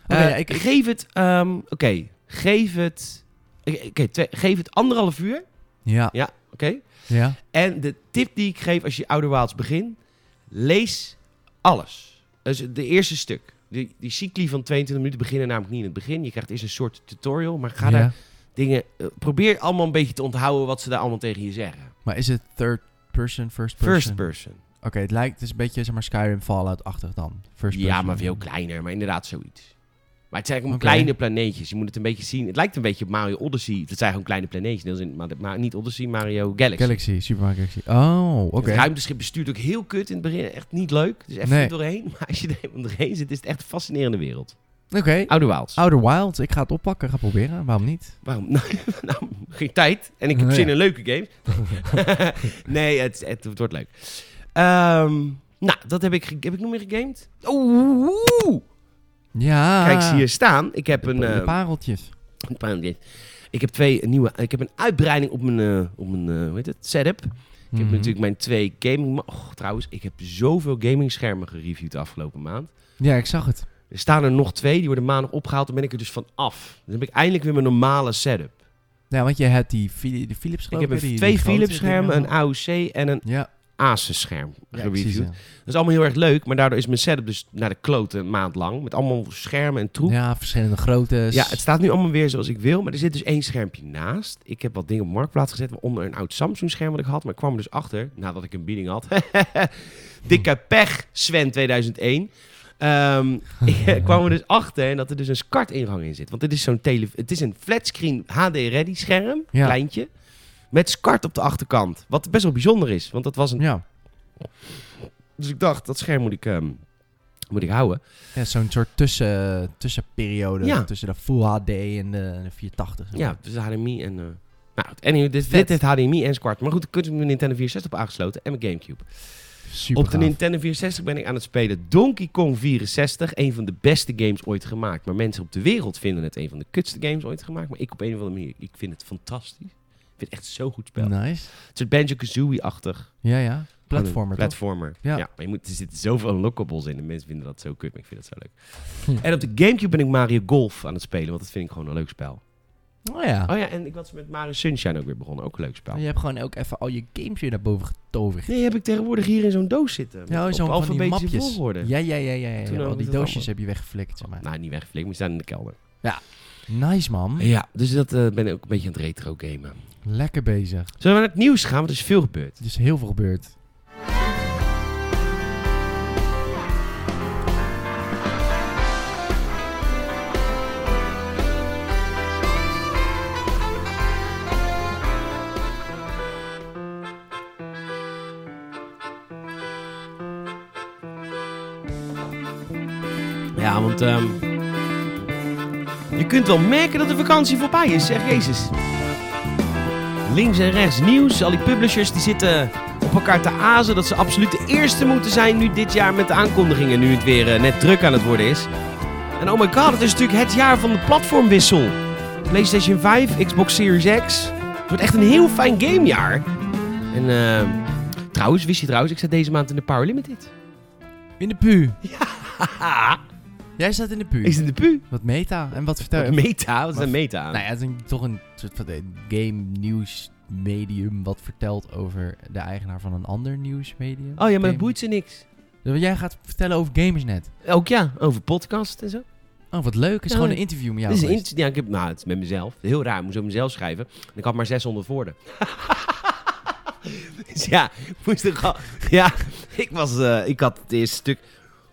Speaker 2: Oké,
Speaker 1: Eh,
Speaker 2: ja, Oh, ik, ik-
Speaker 1: Geef het... ehm, Oké, geef het... Oké, oké, twee- geef het anderhalf uur.
Speaker 2: ja,
Speaker 1: Ja, oké.
Speaker 2: ja.
Speaker 1: En de tip die ik geef als je Outer Wilds begint... Lees alles. Dus de eerste stuk. Die, die cycli van 22 minuten beginnen namelijk niet in het begin. Je krijgt eerst een soort tutorial, maar ga
Speaker 2: ja.
Speaker 1: daar dingen. eh, probeer allemaal een beetje te onthouden wat ze daar allemaal tegen je zeggen.
Speaker 2: Maar is het third person, first person?
Speaker 1: First person.
Speaker 2: Oké, het lijkt het is een beetje zeg maar Skyrim Fallout-achtig dan. First
Speaker 1: Ja,
Speaker 2: person.
Speaker 1: maar veel kleiner, maar inderdaad zoiets. Maar het zijn gewoon
Speaker 2: Oké.
Speaker 1: kleine planeetjes. Je moet het een beetje zien. Het lijkt een beetje op Mario Odyssey. Het zijn gewoon kleine planeetjes. Dat is in- maar, maar niet Odyssey, Mario Galaxy.
Speaker 2: Galaxy, Super Mario Galaxy. Oh, oké.
Speaker 1: Het ruimteschip bestuurt ook heel kut in het begin. Echt niet leuk. Dus even
Speaker 2: Nee.
Speaker 1: niet doorheen. Maar als je er helemaal doorheen zit, is het echt een fascinerende wereld.
Speaker 2: Oké.
Speaker 1: Oude Waals.
Speaker 2: Outer Wilds, ik ga het oppakken, ga proberen. Waarom niet?
Speaker 1: Waarom? Nou, nou, geen tijd. En ik heb
Speaker 2: Nee.
Speaker 1: zin in leuke games. nee, het, het, het wordt leuk. Ehm, nou, dat heb ik, ge- heb ik nog meer gegamed. Oeh, oeh.
Speaker 2: Ja.
Speaker 1: Kijk, zie je staan. Ik heb
Speaker 2: De,
Speaker 1: een...
Speaker 2: de
Speaker 1: eh,
Speaker 2: pareltjes.
Speaker 1: een paar- dit. ik heb twee nieuwe... Ik heb een uitbreiding op mijn, eh, op mijn eh, hoe heet het, setup. Ik heb
Speaker 2: Mhm.
Speaker 1: natuurlijk mijn twee gaming... ma- Och, trouwens, ik heb zoveel gamingschermen gereviewd de afgelopen maand.
Speaker 2: Ja, ik zag het.
Speaker 1: Er staan er nog twee. Die worden maandag opgehaald. Dan ben ik er dus van af. Dan heb ik eindelijk weer mijn normale setup.
Speaker 2: Ja, want je hebt die, Phili- de Philips
Speaker 1: Ik
Speaker 2: geloof
Speaker 1: heb
Speaker 2: hè,
Speaker 1: een-
Speaker 2: die- die
Speaker 1: twee
Speaker 2: grote
Speaker 1: Philips-schermen, een
Speaker 2: dingen.
Speaker 1: AOC en een
Speaker 2: Ja,
Speaker 1: Asus scherm
Speaker 2: ja
Speaker 1: gereviewd.
Speaker 2: precies. ja.
Speaker 1: Dat is allemaal heel erg leuk, maar daardoor is mijn setup dus naar de klote een maand lang. Met allemaal schermen en troep. Ja.
Speaker 2: Ja, verschillende groottes.
Speaker 1: het staat nu allemaal weer zoals ik wil, maar er zit dus één schermpje naast. Ik heb wat dingen op marktplaats gezet, waaronder een oud Samsung scherm wat ik had. Maar ik kwam er dus achter, nadat ik een bieding had. Dikke pech, Sven 2001. Ehm, ik kwam er dus achter dat er dus een SCART-ingang in zit. Want dit is zo'n tele... Het is een flatscreen HD-ready scherm,
Speaker 2: Ja.
Speaker 1: kleintje. Met SCART op de achterkant. Wat best wel bijzonder is, want dat was een
Speaker 2: Ja,
Speaker 1: Dus ik dacht, dat scherm moet ik, ehm, moet ik houden.
Speaker 2: ja zo'n soort tussen, tussenperiode.
Speaker 1: Ja.
Speaker 2: Tussen de Full HD en de, en de 480. zeg
Speaker 1: Ja,
Speaker 2: maar.
Speaker 1: dus HDMI en... eh nou, goed, anyway, dit, dit
Speaker 2: Vet.
Speaker 1: heeft HDMI en Squart. Maar goed, ik heb mijn Nintendo 64 op aangesloten en mijn Gamecube.
Speaker 2: Super
Speaker 1: Op de Nintendo 64 ben ik aan het spelen Donkey Kong 64. Een van de beste games ooit gemaakt. Maar mensen op de wereld vinden het een van de kutste games ooit gemaakt. Maar ik op een of andere manier, ik vind het fantastisch. Ik vind het echt zo'n goed spel.
Speaker 2: Nice.
Speaker 1: Het is Banjo-Kazooie-achtig.
Speaker 2: Ja, ja. Platformer, toch?
Speaker 1: Platformer. Ja.
Speaker 2: Ja.
Speaker 1: maar je moet, er zitten zoveel unlockables in. En mensen vinden dat zo kut, maar ik vind dat zo leuk.
Speaker 2: Hm.
Speaker 1: En op de Gamecube ben ik Mario Golf aan het spelen. Want dat vind ik gewoon een leuk spel.
Speaker 2: Oh ja.
Speaker 1: Oh ja, en ik was met Mario Sunshine ook weer begonnen. Ook een leuk spel.
Speaker 2: Je hebt gewoon ook even al je games weer naar boven getoverd.
Speaker 1: Nee, heb ik tegenwoordig hier in zo'n doos zitten. Met-
Speaker 2: Ja,
Speaker 1: op
Speaker 2: zo'n van die
Speaker 1: alfabetische
Speaker 2: mapjes.
Speaker 1: volgorde.
Speaker 2: Ja, ja, ja, ja. ja,
Speaker 1: Toen
Speaker 2: ja.
Speaker 1: ook met
Speaker 2: Al die
Speaker 1: het
Speaker 2: doosjes
Speaker 1: allemaal.
Speaker 2: heb je weggeflikt, zeg maar.
Speaker 1: Nou, niet weggeflikt, maar die staan in de kelder.
Speaker 2: Nice, man.
Speaker 1: Ja, dus dat eh, ben ik ook een beetje aan het retro gamen.
Speaker 2: Lekker bezig.
Speaker 1: Zullen we naar het nieuws gaan? Want er is veel gebeurd.
Speaker 2: Er is heel veel gebeurd.
Speaker 1: Ja, want ehm, je kunt wel merken dat de vakantie voorbij is, zeg Jezus. Links en rechts nieuws. Al die publishers die zitten op elkaar te azen dat ze absoluut de eerste moeten zijn nu dit jaar met de aankondigingen. Nu het weer eh, net druk aan het worden is. En oh my god, het is natuurlijk het jaar van de platformwissel. PlayStation 5, Xbox Series X. Het wordt echt een heel fijn gamejaar. En eh, trouwens, wist je trouwens, ik zat deze maand in de Power Limited.
Speaker 2: In de pu.
Speaker 1: Haha,
Speaker 2: Jij staat in de pu.
Speaker 1: is in de pu.
Speaker 2: Wat meta. En wat vertel
Speaker 1: Wat
Speaker 2: je?
Speaker 1: meta? Wat is een meta?
Speaker 2: Nou ja, het is een- toch een soort van eh, game nieuws medium wat vertelt over de eigenaar van een ander nieuwsmedium.
Speaker 1: Oh ja, maar dat
Speaker 2: Game-
Speaker 1: boeit ze niks.
Speaker 2: Want Jij gaat vertellen over Gamersnet.
Speaker 1: Ook ja, over podcast en zo.
Speaker 2: Oh, wat leuk. is
Speaker 1: Ja,
Speaker 2: gewoon
Speaker 1: dat-
Speaker 2: een interview
Speaker 1: Ja,
Speaker 2: met jou
Speaker 1: is een
Speaker 2: geweest.
Speaker 1: int- ja, ik heb, nou, het is met mezelf. Heel raar, ik moest over mezelf schrijven. En ik had maar 600 woorden. dus ja, ik moest er gewoon... Ja, ik, was, eh, ik had het eerste stuk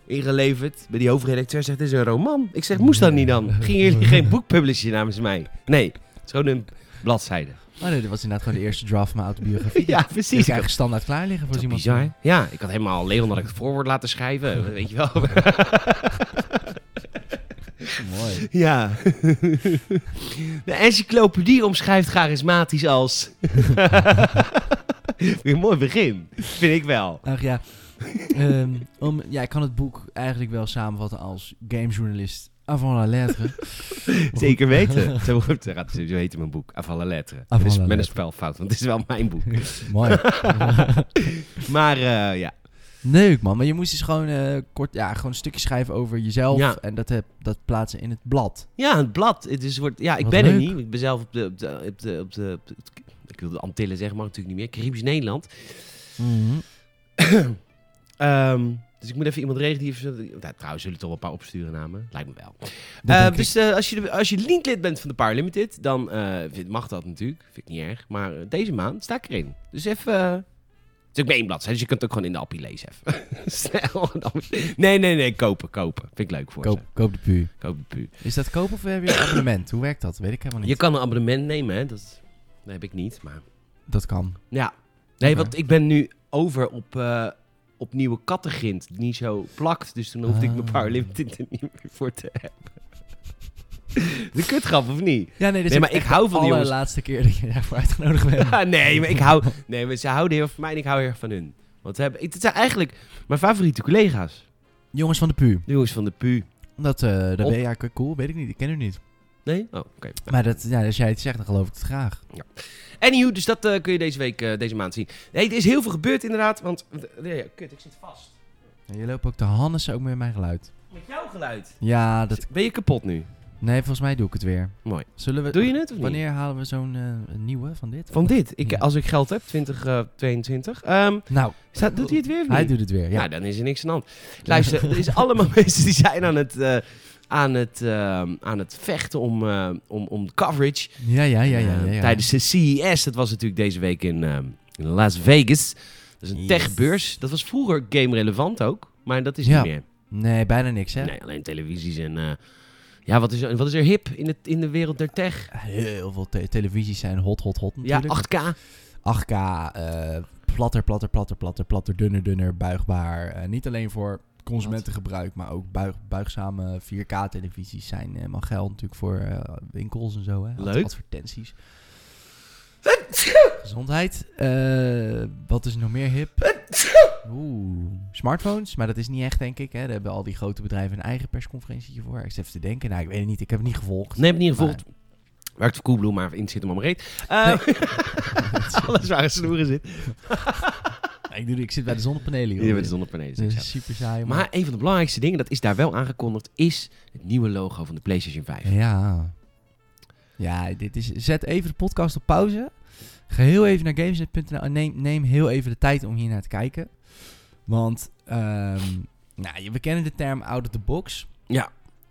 Speaker 1: ingeleverd. Bij die hoofdredacteur zegt, dit is een roman. Ik zeg, moest dat niet dan? Gingen jullie geen boek publishen namens mij? Nee, het is gewoon een bladzijde.
Speaker 2: Oh nee, dit was inderdaad gewoon de eerste draft van mijn autobiografie.
Speaker 1: Ja,
Speaker 2: Die
Speaker 1: precies.
Speaker 2: heb ik eigenlijk standaard klaar liggen
Speaker 1: Dat
Speaker 2: voor
Speaker 1: is
Speaker 2: iemand.
Speaker 1: bizar. Ja, ik had helemaal Leon dat ik het voorwoord laten schrijven. Weet je wel.
Speaker 2: Mooi.
Speaker 1: Ja. De encyclopedie omschrijft charismatisch als. Weer een mooi begin, vind ik wel.
Speaker 2: Ach ja. Ehm, om, ja, ik kan het boek eigenlijk wel samenvatten als gamejournalist avant la lettre.
Speaker 1: Zeker weten. Zo, goed, zo gaat- zo heet mijn boek, Avant la lettre.
Speaker 2: Avant
Speaker 1: Dus
Speaker 2: la
Speaker 1: met een
Speaker 2: lettre.
Speaker 1: spelfout, want het is wel mijn boek.
Speaker 2: Mooi.
Speaker 1: Maar eh, ja,
Speaker 2: Leuk man, maar je moest dus gewoon eh, kort, ja, gewoon een stukje schrijven over jezelf
Speaker 1: Ja.
Speaker 2: en dat, heb, dat plaatsen in het blad.
Speaker 1: ja het blad. Het is, wordt, ja, ik
Speaker 2: Wat
Speaker 1: ben er
Speaker 2: leuk.
Speaker 1: niet. Ik ben zelf op de. Op de, op de, op de, op de- ik wilde Antillen zeggen, maar natuurlijk niet meer. Caribisch Nederland. Ehm, dus ik moet even iemand regelen die... Nou, trouwens, zullen er toch wel een paar opsturen namen? Lijkt me wel.
Speaker 2: Dat
Speaker 1: Eh,
Speaker 2: denk ik.
Speaker 1: dus eh, als je, de- als je lid bent van de Power Limited, dan eh, vind- mag dat natuurlijk. Vind ik niet erg. Maar eh, deze maand sta ik erin. Dus even... eh, het is ook maar één bladzijde, dus je kunt het ook gewoon in de appie lezen even. Snel. dan- Nee, nee, nee. Kopen, kopen. Vind ik leuk voor
Speaker 2: koop,
Speaker 1: ze.
Speaker 2: koop de pu.
Speaker 1: Koop de pu.
Speaker 2: Is dat koop of heb je een abonnement? Hoe werkt dat? Weet ik helemaal niet.
Speaker 1: Je kan een abonnement nemen, hè. Dat, dat heb ik niet, maar...
Speaker 2: Dat kan.
Speaker 1: Ja. Nee,
Speaker 2: Oké.
Speaker 1: want ik ben nu over op, eh, op nieuwe kattengrind. Die niet zo plakt. Dus toen hoefde ik mijn
Speaker 2: Ah.
Speaker 1: Power Limited er niet meer voor te hebben. De kutgrap, of niet?
Speaker 2: Ja, nee, dit
Speaker 1: Nee,
Speaker 2: is
Speaker 1: maar
Speaker 2: echt
Speaker 1: ik hou
Speaker 2: de
Speaker 1: van die jongens.
Speaker 2: allerlaatste keer dat je daarvoor uitgenodigd bent.
Speaker 1: Ah, nee, maar ik hou... Nee, maar ze houden heel veel van mij en ik hou heel erg van hun. Want ze hebben, het zijn eigenlijk mijn favoriete collega's.
Speaker 2: Jongens van de pu.
Speaker 1: De jongens van de PU.
Speaker 2: Dat, eh dat
Speaker 1: Op-
Speaker 2: ben je eigenlijk cool, weet ik niet. Ik ken u niet.
Speaker 1: Nee? Oh, oké. Nou,
Speaker 2: Maar dat, ja, als jij het zegt, dan geloof ik het graag.
Speaker 1: Anywho, dus dat eh, kun je deze week, eh, deze maand zien. Nee, er is heel veel gebeurd inderdaad, want... Nee, ja, kut, ik zit vast.
Speaker 2: En je loopt ook te hannessen ook met mijn geluid.
Speaker 1: Met jouw geluid.
Speaker 2: Ja, dat...
Speaker 1: Ben je kapot nu?
Speaker 2: Nee, volgens mij doe ik het weer.
Speaker 1: Mooi.
Speaker 2: Zullen we...
Speaker 1: Doe je het of niet?
Speaker 2: Wanneer halen we zo'n eh, nieuwe van dit?
Speaker 1: Van dit. Ik,
Speaker 2: Ja.
Speaker 1: Als ik geld heb, 2022. ehm
Speaker 2: Nou,
Speaker 1: staat, doet hij het weer of niet?
Speaker 2: hij doet het weer, ja.
Speaker 1: Nou, dan is er niks aan de hand. Luister, er is allemaal mensen die zijn aan het, eh, aan het, ehm, aan het vechten om, eh, om, om coverage.
Speaker 2: Ja, ja, Ah, ja, ja.
Speaker 1: Eh,
Speaker 2: ja, ja.
Speaker 1: Tijdens de CES, dat was natuurlijk deze week in, ehm, in Las Vegas. Dat is een
Speaker 2: Yes.
Speaker 1: techbeurs. Dat was vroeger game relevant ook, maar dat is
Speaker 2: Ja.
Speaker 1: niet meer.
Speaker 2: Nee, bijna niks, hè?
Speaker 1: Nee, alleen televisies en... eh, ja, wat is, er- wat is er hip in, het, in de wereld der tech?
Speaker 2: Heel veel te- televisies zijn hot, hot, hot natuurlijk.
Speaker 1: Ja, 8K.
Speaker 2: 8K, eh, platter, platter, platter, platter, platter, dunner, dunner, buigbaar. Eh, niet alleen voor consumentengebruik, maar ook buig, buigzame 4K-televisies zijn helemaal geld natuurlijk voor eh, winkels en zo. Hè? Ad-
Speaker 1: Leuk.
Speaker 2: Advertenties. Gezondheid. Eh, wat is nog meer hip? Oeh, smartphones, maar dat is niet echt, denk ik. Hè. Daar hebben al die grote bedrijven een eigen persconferentie voor. Ik zit even te denken. Nou, ik weet het niet. Ik heb het niet gevolgd.
Speaker 1: Neem het niet gevolgd. Werkt voor Coolblue, maar in zit hem om reet. Eh, alles waar een snoeren zit.
Speaker 2: Maar ik, doe, ik zit bij de zonnepanelen. Joh.
Speaker 1: Hier met de zonnepanelen.
Speaker 2: Dat
Speaker 1: zeg ik
Speaker 2: is
Speaker 1: zo.
Speaker 2: super saai.
Speaker 1: Maar een van de belangrijkste dingen, dat is daar wel aangekondigd, is het nieuwe logo van de PlayStation 5.
Speaker 2: Ja. Ja, dit is... Zet even de podcast op pauze. Ga heel even naar gamesnet.nl en neem, neem heel even de tijd om hier naar te kijken. Want, ehm, nou, je- we kennen de term out of the box.
Speaker 1: Ja.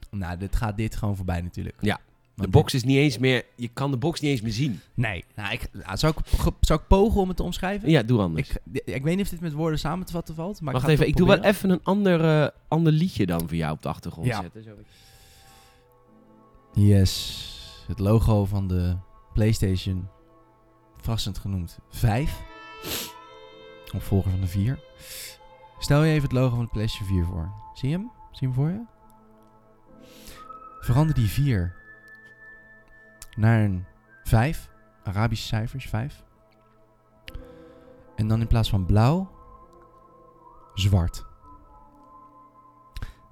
Speaker 2: Nou, dit gaat dit gewoon voorbij natuurlijk.
Speaker 1: Ja, De
Speaker 2: Want
Speaker 1: box is niet eens meer, je kan de box niet eens meer zien.
Speaker 2: dit- Nee. Nou, ik, nou, zou, ik, ge- zou ik pogen om het te omschrijven?
Speaker 1: Ja, doe anders.
Speaker 2: Ik, ik weet niet of dit met woorden samen te vatten valt, maar
Speaker 1: Wacht
Speaker 2: ik ga
Speaker 1: even,
Speaker 2: het
Speaker 1: ik
Speaker 2: toch
Speaker 1: doe wel
Speaker 2: proberen.
Speaker 1: even een ander, eh, ander liedje dan voor jou op de achtergrond
Speaker 2: Ja.
Speaker 1: zetten. Zo.
Speaker 2: Yes. Het logo van de PlayStation. Verrassend genoemd 5. Opvolger van de 4. Stel je even het logo van de PlayStation 4 voor. Zie je hem? Zie je hem voor je? Verander die 4 naar een 5. Arabische cijfers 5. En dan in plaats van blauw, zwart.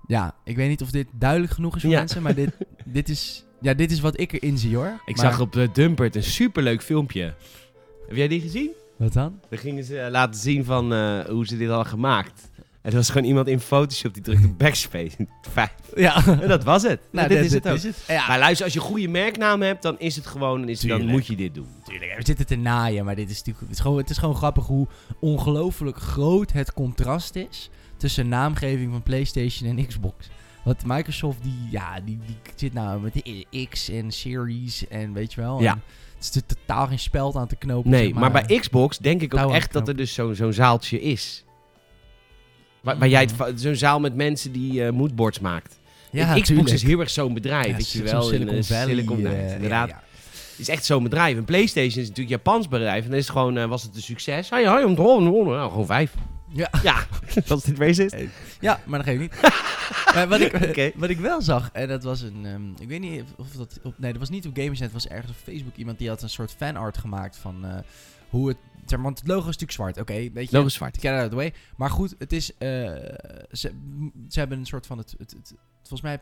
Speaker 2: Ja, ik weet niet of dit duidelijk genoeg is voor
Speaker 1: Ja.
Speaker 2: mensen, maar dit, dit, is, ja, dit is wat ik erin zie hoor.
Speaker 1: Ik
Speaker 2: Maar-
Speaker 1: zag op de Dumpert een superleuk filmpje. Heb jij die gezien?
Speaker 2: Wat dan?
Speaker 1: Daar gingen ze eh, laten zien van eh, hoe ze dit hadden gemaakt. En er was gewoon iemand in Photoshop die drukte backspace. Vijf.
Speaker 2: Ja,
Speaker 1: En dat was het.
Speaker 2: Nou,
Speaker 1: dit
Speaker 2: dat-
Speaker 1: is het
Speaker 2: dat
Speaker 1: ook.
Speaker 2: is het. Ja.
Speaker 1: Maar luister, als je een goede merknaam hebt, dan is het gewoon, dan, is het- dan
Speaker 2: Tuurlijk.
Speaker 1: moet je dit doen.
Speaker 2: Tuurlijk, we zitten te naaien, maar dit is natuurlijk, het, is gewoon, het is gewoon grappig hoe ongelooflijk groot het contrast is tussen naamgeving van PlayStation en Xbox. Want Microsoft, die, ja, die, die zit nou met de X en Series en weet je wel.
Speaker 1: Ja.
Speaker 2: En het is er totaal geen speld aan te knopen.
Speaker 1: Nee,
Speaker 2: zeg
Speaker 1: maar bij Xbox denk ik ook
Speaker 2: Touwen
Speaker 1: echt dat er
Speaker 2: knopen.
Speaker 1: dus zo'n zo'n zaaltje is. Waar, waar jij
Speaker 2: Mm.
Speaker 1: het va- zo'n zaal met mensen die eh, moodboards maakt.
Speaker 2: ja,
Speaker 1: Xbox
Speaker 2: tuurlijk.
Speaker 1: is heel erg zo'n bedrijf,
Speaker 2: Ja,
Speaker 1: weet je
Speaker 2: zo'n
Speaker 1: wel. in,
Speaker 2: Silicon
Speaker 1: eh,
Speaker 2: Valley.
Speaker 1: Silicon Valley,
Speaker 2: eh, ja,
Speaker 1: inderdaad.
Speaker 2: ja.
Speaker 1: Het is echt zo'n bedrijf. En PlayStation is natuurlijk een Japans bedrijf. En dan is het gewoon, eh, was het een succes? Hoi, hoi, om te horen, om te horen. Nou, gewoon vijf.
Speaker 2: Ja.
Speaker 1: Ja, als dit wees is.
Speaker 2: Ja, maar dat geeft niet. maar wat, ik,
Speaker 1: Oké.
Speaker 2: wat ik wel zag, en dat was een. ehm, ik weet niet of dat. Op, nee, dat was niet op Gamersnet, het was ergens op Facebook iemand die had een soort fanart gemaakt van eh, hoe het. Zeg, maar, want het logo is natuurlijk zwart, oké. weet je,
Speaker 1: Logo zwart.
Speaker 2: get it out of the way. Maar goed, het is. eh, ze, m- ze hebben een soort van. Het, het, het- volgens mij.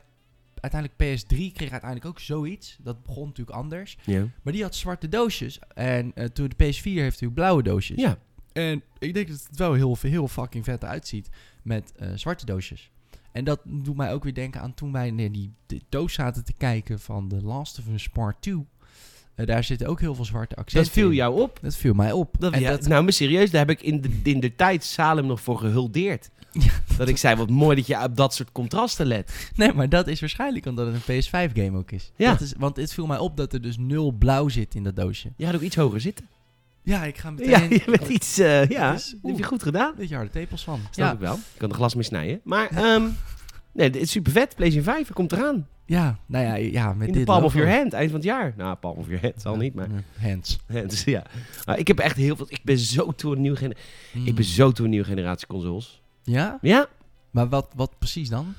Speaker 2: Uiteindelijk PS3 kreeg uiteindelijk ook zoiets. Dat begon natuurlijk anders.
Speaker 1: Ja.
Speaker 2: Maar die had zwarte doosjes. En eh, toen de PS4 heeft natuurlijk blauwe doosjes.
Speaker 1: ja.
Speaker 2: En ik denk dat het wel heel, heel fucking vet uitziet met eh, zwarte doosjes. En dat doet mij ook weer denken aan toen wij naar die de doos zaten te kijken van The Last of Us Part 2. Eh, daar zitten ook heel veel zwarte accenten
Speaker 1: Dat viel
Speaker 2: in.
Speaker 1: jou op.
Speaker 2: Dat viel mij op.
Speaker 1: Dat,
Speaker 2: en
Speaker 1: ja,
Speaker 2: dat,
Speaker 1: Nou, maar serieus, daar heb ik in de, in de tijd Salem nog voor gehuldeerd.
Speaker 2: Ja.
Speaker 1: Dat ik zei, wat mooi dat je op dat soort contrasten let.
Speaker 2: nee, maar dat is waarschijnlijk omdat het een PS5-game ook is.
Speaker 1: Ja.
Speaker 2: Dat is. Want het viel mij op dat er dus nul blauw zit in dat doosje.
Speaker 1: Je gaat ook iets hoger zitten.
Speaker 2: Ja, ik ga meteen...
Speaker 1: Ja, je bent iets... eh, ja,
Speaker 2: Dat is-
Speaker 1: heb je
Speaker 2: oeh.
Speaker 1: goed gedaan.
Speaker 2: Beetje harde tepels van.
Speaker 1: Snap
Speaker 2: ja.
Speaker 1: ik wel. Ik kan de glas mee snijden. Maar, ehm, nee, dit is super vet. PlayStation 5, komt eraan.
Speaker 2: ja, nou ja, ja met
Speaker 1: In
Speaker 2: dit
Speaker 1: de palm of
Speaker 2: logo. Mm,
Speaker 1: your hand, eind van het jaar. Nou, palm of your hand, zal niet, maar...
Speaker 2: Hands.
Speaker 1: Dus ja. Nou, ik heb echt heel veel... Ik ben zo toe een nieuwe, gene- ik ben
Speaker 2: Mm.
Speaker 1: zo toe een nieuwe generatie consoles.
Speaker 2: Ja?
Speaker 1: Ja?
Speaker 2: Maar wat, wat precies dan?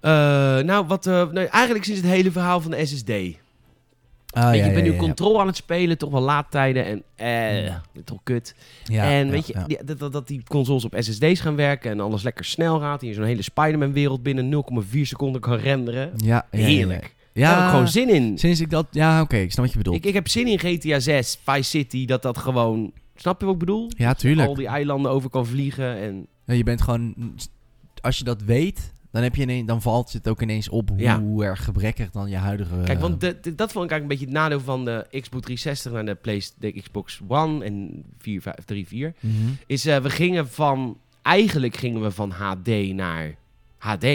Speaker 1: Eh, nou, wat, eh, nou, eigenlijk sinds het hele verhaal van de SSD.
Speaker 2: Ah,
Speaker 1: Weet
Speaker 2: ja,
Speaker 1: je, ik ben
Speaker 2: ja,
Speaker 1: nu
Speaker 2: ja, ja.
Speaker 1: controle aan het spelen, toch wel laadtijden en eh,
Speaker 2: Ja.
Speaker 1: toch kut.
Speaker 2: Ja,
Speaker 1: en
Speaker 2: ja,
Speaker 1: weet je,
Speaker 2: ja.
Speaker 1: die- dat, dat, dat die consoles op SSD's gaan werken en alles lekker snel gaat. Hier zo'n hele Spider-Man wereld binnen 0,4 seconden kan renderen.
Speaker 2: Ja, ja, ja, ja.
Speaker 1: Heerlijk.
Speaker 2: Ja,
Speaker 1: Daar heb ik gewoon zin in.
Speaker 2: Sinds ik dat... Ja, oké, ik snap wat je bedoelt.
Speaker 1: Ik, ik heb zin in GTA 6, Vice City, dat dat gewoon... Snap je wat ik bedoel?
Speaker 2: ja, tuurlijk.
Speaker 1: Al die eilanden over kan vliegen en...
Speaker 2: Ja, Je bent gewoon... Als je dat weet, dan, heb je ineens, dan valt het ook ineens op hoe
Speaker 1: Ja.
Speaker 2: erg gebrekkig dan je huidige...
Speaker 1: Kijk, want de- de- dat vond ik eigenlijk een beetje het nadeel van de Xbox 360 naar de, Play, de Xbox One en 4, 5, 3, 4.
Speaker 2: Mhm.
Speaker 1: Is eh, we gingen van... Eigenlijk gingen we van HD naar HD.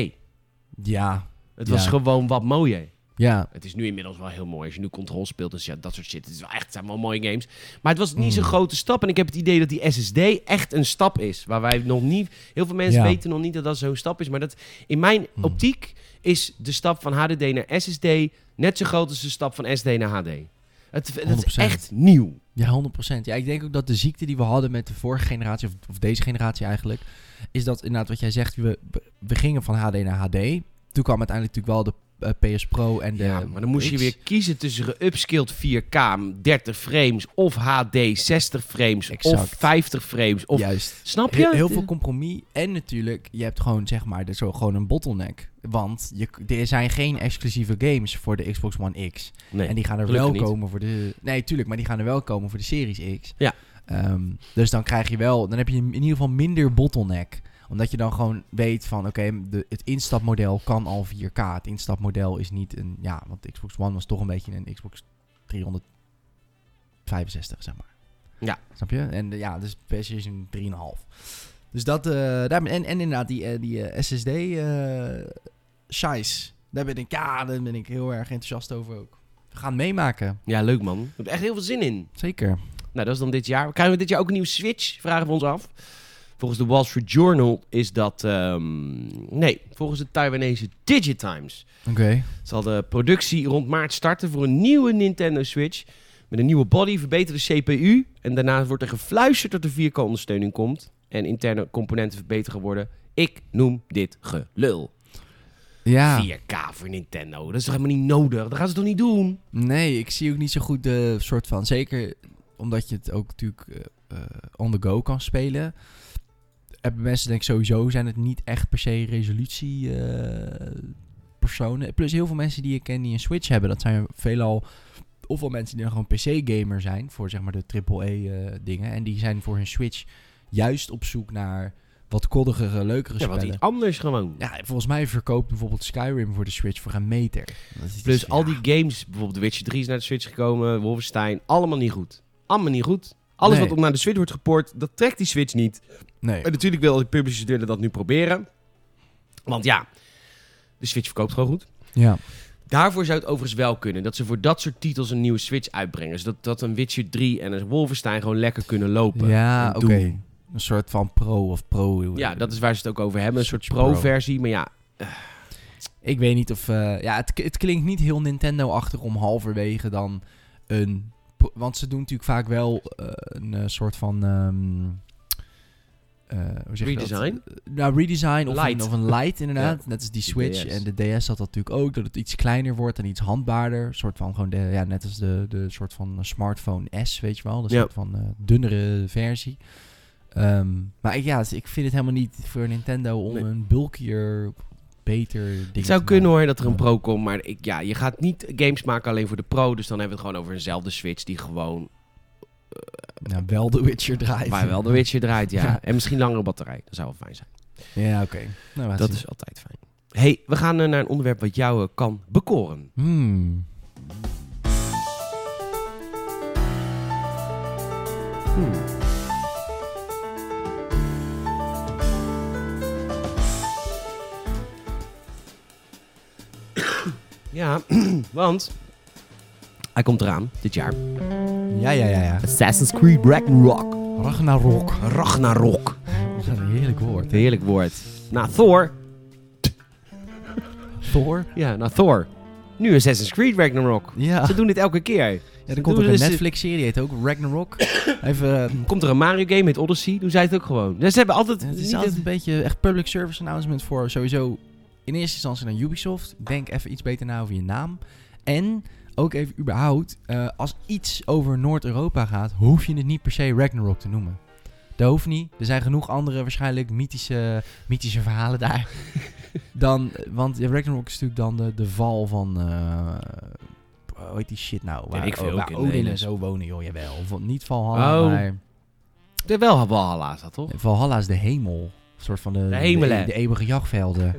Speaker 2: Ja,
Speaker 1: Het was
Speaker 2: Ja.
Speaker 1: gewoon wat mooier.
Speaker 2: ja.
Speaker 1: Het is nu inmiddels wel heel mooi. Als je nu Control speelt, dus ja, dat soort shit. Het is wel echt, het zijn wel mooie games. Maar het was niet
Speaker 2: Mm.
Speaker 1: zo'n grote stap. En ik heb het idee dat die SSD echt een stap is. Waar wij nog niet... Heel veel mensen
Speaker 2: Ja.
Speaker 1: weten nog niet dat dat zo'n stap is. Maar dat, in mijn
Speaker 2: Mm.
Speaker 1: optiek is de stap van HDD naar SSD... net zo groot als de stap van SD naar HD. Het, dat is
Speaker 2: 100%.
Speaker 1: echt nieuw.
Speaker 2: Ja, 100%. Ja, ik denk ook dat de ziekte die we hadden met de vorige generatie, of, of deze generatie eigenlijk, is dat inderdaad wat jij zegt, we, we- we gingen van HD naar HD. Toen kwam uiteindelijk natuurlijk wel de eh, PS Pro en de
Speaker 1: ja, maar dan moest je
Speaker 2: X.
Speaker 1: weer kiezen tussen geupscaled 4K 30 frames of HD 60 frames of
Speaker 2: Exact.
Speaker 1: 50 frames. Of,
Speaker 2: Juist.
Speaker 1: Snap je?
Speaker 2: Heel, heel veel compromis. En natuurlijk, je hebt gewoon zeg maar de- zo gewoon een bottleneck. Want je, k- er zijn geen exclusieve games voor de Xbox One X.
Speaker 1: Nee.
Speaker 2: en die gaan er
Speaker 1: gelukkig
Speaker 2: wel
Speaker 1: niet.
Speaker 2: komen voor de. Nee, tuurlijk, maar die gaan er wel komen voor de Series X.
Speaker 1: Ja.
Speaker 2: Ehm, dus dan krijg je wel. Dan heb je in ieder geval minder bottleneck. Omdat je dan gewoon weet van oké, de- het instapmodel kan al 4K. Het instapmodel is niet een. Ja, want de Xbox One was toch een beetje een Xbox 365, zeg maar.
Speaker 1: Ja.
Speaker 2: Snap je? En eh, ja, dus PlayStation 3,5. Dus dat, eh daar, ben- en, en inderdaad, die, eh, die eh, SSD eh size, daar ben ik, ja, daar ben ik heel erg enthousiast over ook. We gaan het meemaken.
Speaker 1: Ja, leuk man. Ik heb er echt heel veel zin in.
Speaker 2: Zeker.
Speaker 1: Nou, dat is dan dit jaar. Krijgen we dit jaar ook een nieuwe Switch? Vragen we ons af. Volgens de Wall Street Journal is dat... ehm, nee, volgens de Taiwanese Digitimes
Speaker 2: Oké.
Speaker 1: zal de productie rond maart starten voor een nieuwe Nintendo Switch. Met een nieuwe body, verbeterde CPU. En daarna wordt er gefluisterd dat er 4K-ondersteuning komt. En interne componenten verbeterd gaan worden. Ik noem dit gelul.
Speaker 2: Ja.
Speaker 1: 4K voor Nintendo. Dat is toch helemaal niet nodig? Dat gaan ze toch niet doen?
Speaker 2: Nee, ik zie ook niet zo goed de soort van. Zeker omdat je het ook natuurlijk eh, eh, on the go kan spelen. Hebben mensen denk ik sowieso zijn het niet echt per se resolutie eh, personen. Plus heel veel mensen die ik ken die een Switch hebben, dat zijn veelal ofwel mensen die dan gewoon PC-gamer zijn voor zeg maar de AAA eh dingen en die zijn voor hun Switch juist op zoek naar wat koddigere, leukere
Speaker 1: Ja, wat
Speaker 2: spellen.
Speaker 1: iets anders gewoon.
Speaker 2: Ja, volgens mij verkoopt bijvoorbeeld Skyrim voor de Switch voor een meter. Dat is-
Speaker 1: Plus al
Speaker 2: ja.
Speaker 1: die games, bijvoorbeeld The Witcher 3 is naar de Switch gekomen, Wolfenstein, allemaal niet goed. Allemaal niet goed. Alles
Speaker 2: Nee.
Speaker 1: wat op naar de Switch wordt geport, dat trekt die Switch niet.
Speaker 2: Nee.
Speaker 1: En natuurlijk wil de publishers willen dat nu proberen. Want ja, de Switch verkoopt gewoon goed.
Speaker 2: Ja.
Speaker 1: Daarvoor zou het overigens wel kunnen dat ze voor dat soort titels een nieuwe Switch uitbrengen. Zodat dat een Witcher 3 en een Wolfenstein gewoon lekker kunnen lopen.
Speaker 2: Ja,
Speaker 1: En
Speaker 2: oké.
Speaker 1: doen.
Speaker 2: Een soort van pro of pro.
Speaker 1: Ja, dat is waar ze het ook over hebben. Een soort
Speaker 2: Switch Pro.
Speaker 1: pro-versie, maar ja.
Speaker 2: Ik weet niet of... eh, ja, het, het klinkt niet heel Nintendo-achtig om halverwege dan een... pro- Want ze doen natuurlijk vaak wel eh, een eh, soort van... ehm, eh, hoe zeg je dat?
Speaker 1: Redesign?
Speaker 2: Nou, redesign of,
Speaker 1: Light.
Speaker 2: Een, of een light inderdaad. Net als die
Speaker 1: De
Speaker 2: Switch
Speaker 1: DS.
Speaker 2: en de DS had dat natuurlijk ook. Dat het iets kleiner wordt en iets handbaarder. Een soort van gewoon, de, ja, net als de, de soort van smartphone S, weet je wel. De
Speaker 1: Ja.
Speaker 2: soort van eh, dunnere versie. Ehm, maar ik, ja, dus ik vind het helemaal niet voor Nintendo om
Speaker 1: Nee.
Speaker 2: een bulkier, beter ding
Speaker 1: Het
Speaker 2: te
Speaker 1: zou
Speaker 2: maken.
Speaker 1: kunnen hoor dat er een pro komt, maar ik, ja, je gaat niet games maken alleen voor de pro. Dus dan hebben we het gewoon over eenzelfde Switch die gewoon
Speaker 2: Nou, wel de Witcher draait.
Speaker 1: Waar wel de Witcher draait, ja.
Speaker 2: Ja.
Speaker 1: En misschien langere batterij. Dat zou wel fijn zijn.
Speaker 2: Ja, oké. Nou, laat
Speaker 1: Dat
Speaker 2: zien.
Speaker 1: is altijd fijn. hey, we gaan eh, naar een onderwerp wat jou eh, kan bekoren.
Speaker 2: Hmm.
Speaker 1: Ja, want hij komt eraan dit jaar.
Speaker 2: Ja, ja, ja, ja.
Speaker 1: Assassin's Creed Ragnarok.
Speaker 2: Ragnarok.
Speaker 1: Ragnarok.
Speaker 2: Dat is een heerlijk woord. hè.
Speaker 1: Heerlijk woord. Na Thor.
Speaker 2: Thor.
Speaker 1: Ja, na Thor. Nu Assassin's Creed Ragnarok.
Speaker 2: Ja.
Speaker 1: Ze doen dit elke keer.
Speaker 2: Ja,
Speaker 1: Ze
Speaker 2: er komt ook
Speaker 1: doen
Speaker 2: een
Speaker 1: dus-
Speaker 2: Netflix-serie, heet ook Ragnarok. Even, eh,
Speaker 1: Komt er een Mario game met Odyssey? Doen zij het ook gewoon. Dus ze hebben altijd...
Speaker 2: het
Speaker 1: niet
Speaker 2: is altijd een beetje echt public service announcement voor sowieso in eerste instantie naar Ubisoft. Denk even iets beter na over je naam. En ook even überhaupt, eh, als iets over Noord-Europa gaat, hoef je het niet per se Ragnarok te noemen. Dat hoeft niet. Er zijn genoeg andere waarschijnlijk mythische, mythische verhalen daar. dan, want ja, Ragnarok is natuurlijk dan de, de val van... eh hoe heet die shit nou? Waar,
Speaker 1: ik veel, ook
Speaker 2: waar
Speaker 1: in
Speaker 2: Odin
Speaker 1: Nederland.
Speaker 2: en zo wonen, joh, jawel. Of niet Valhalla,
Speaker 1: Oh.
Speaker 2: maar...
Speaker 1: Het is wel Valhalla is dat, toch?
Speaker 2: Eh, Valhalla is de hemel. Een soort van de, de,
Speaker 1: hemelen.
Speaker 2: de, eeuwige jachtvelden.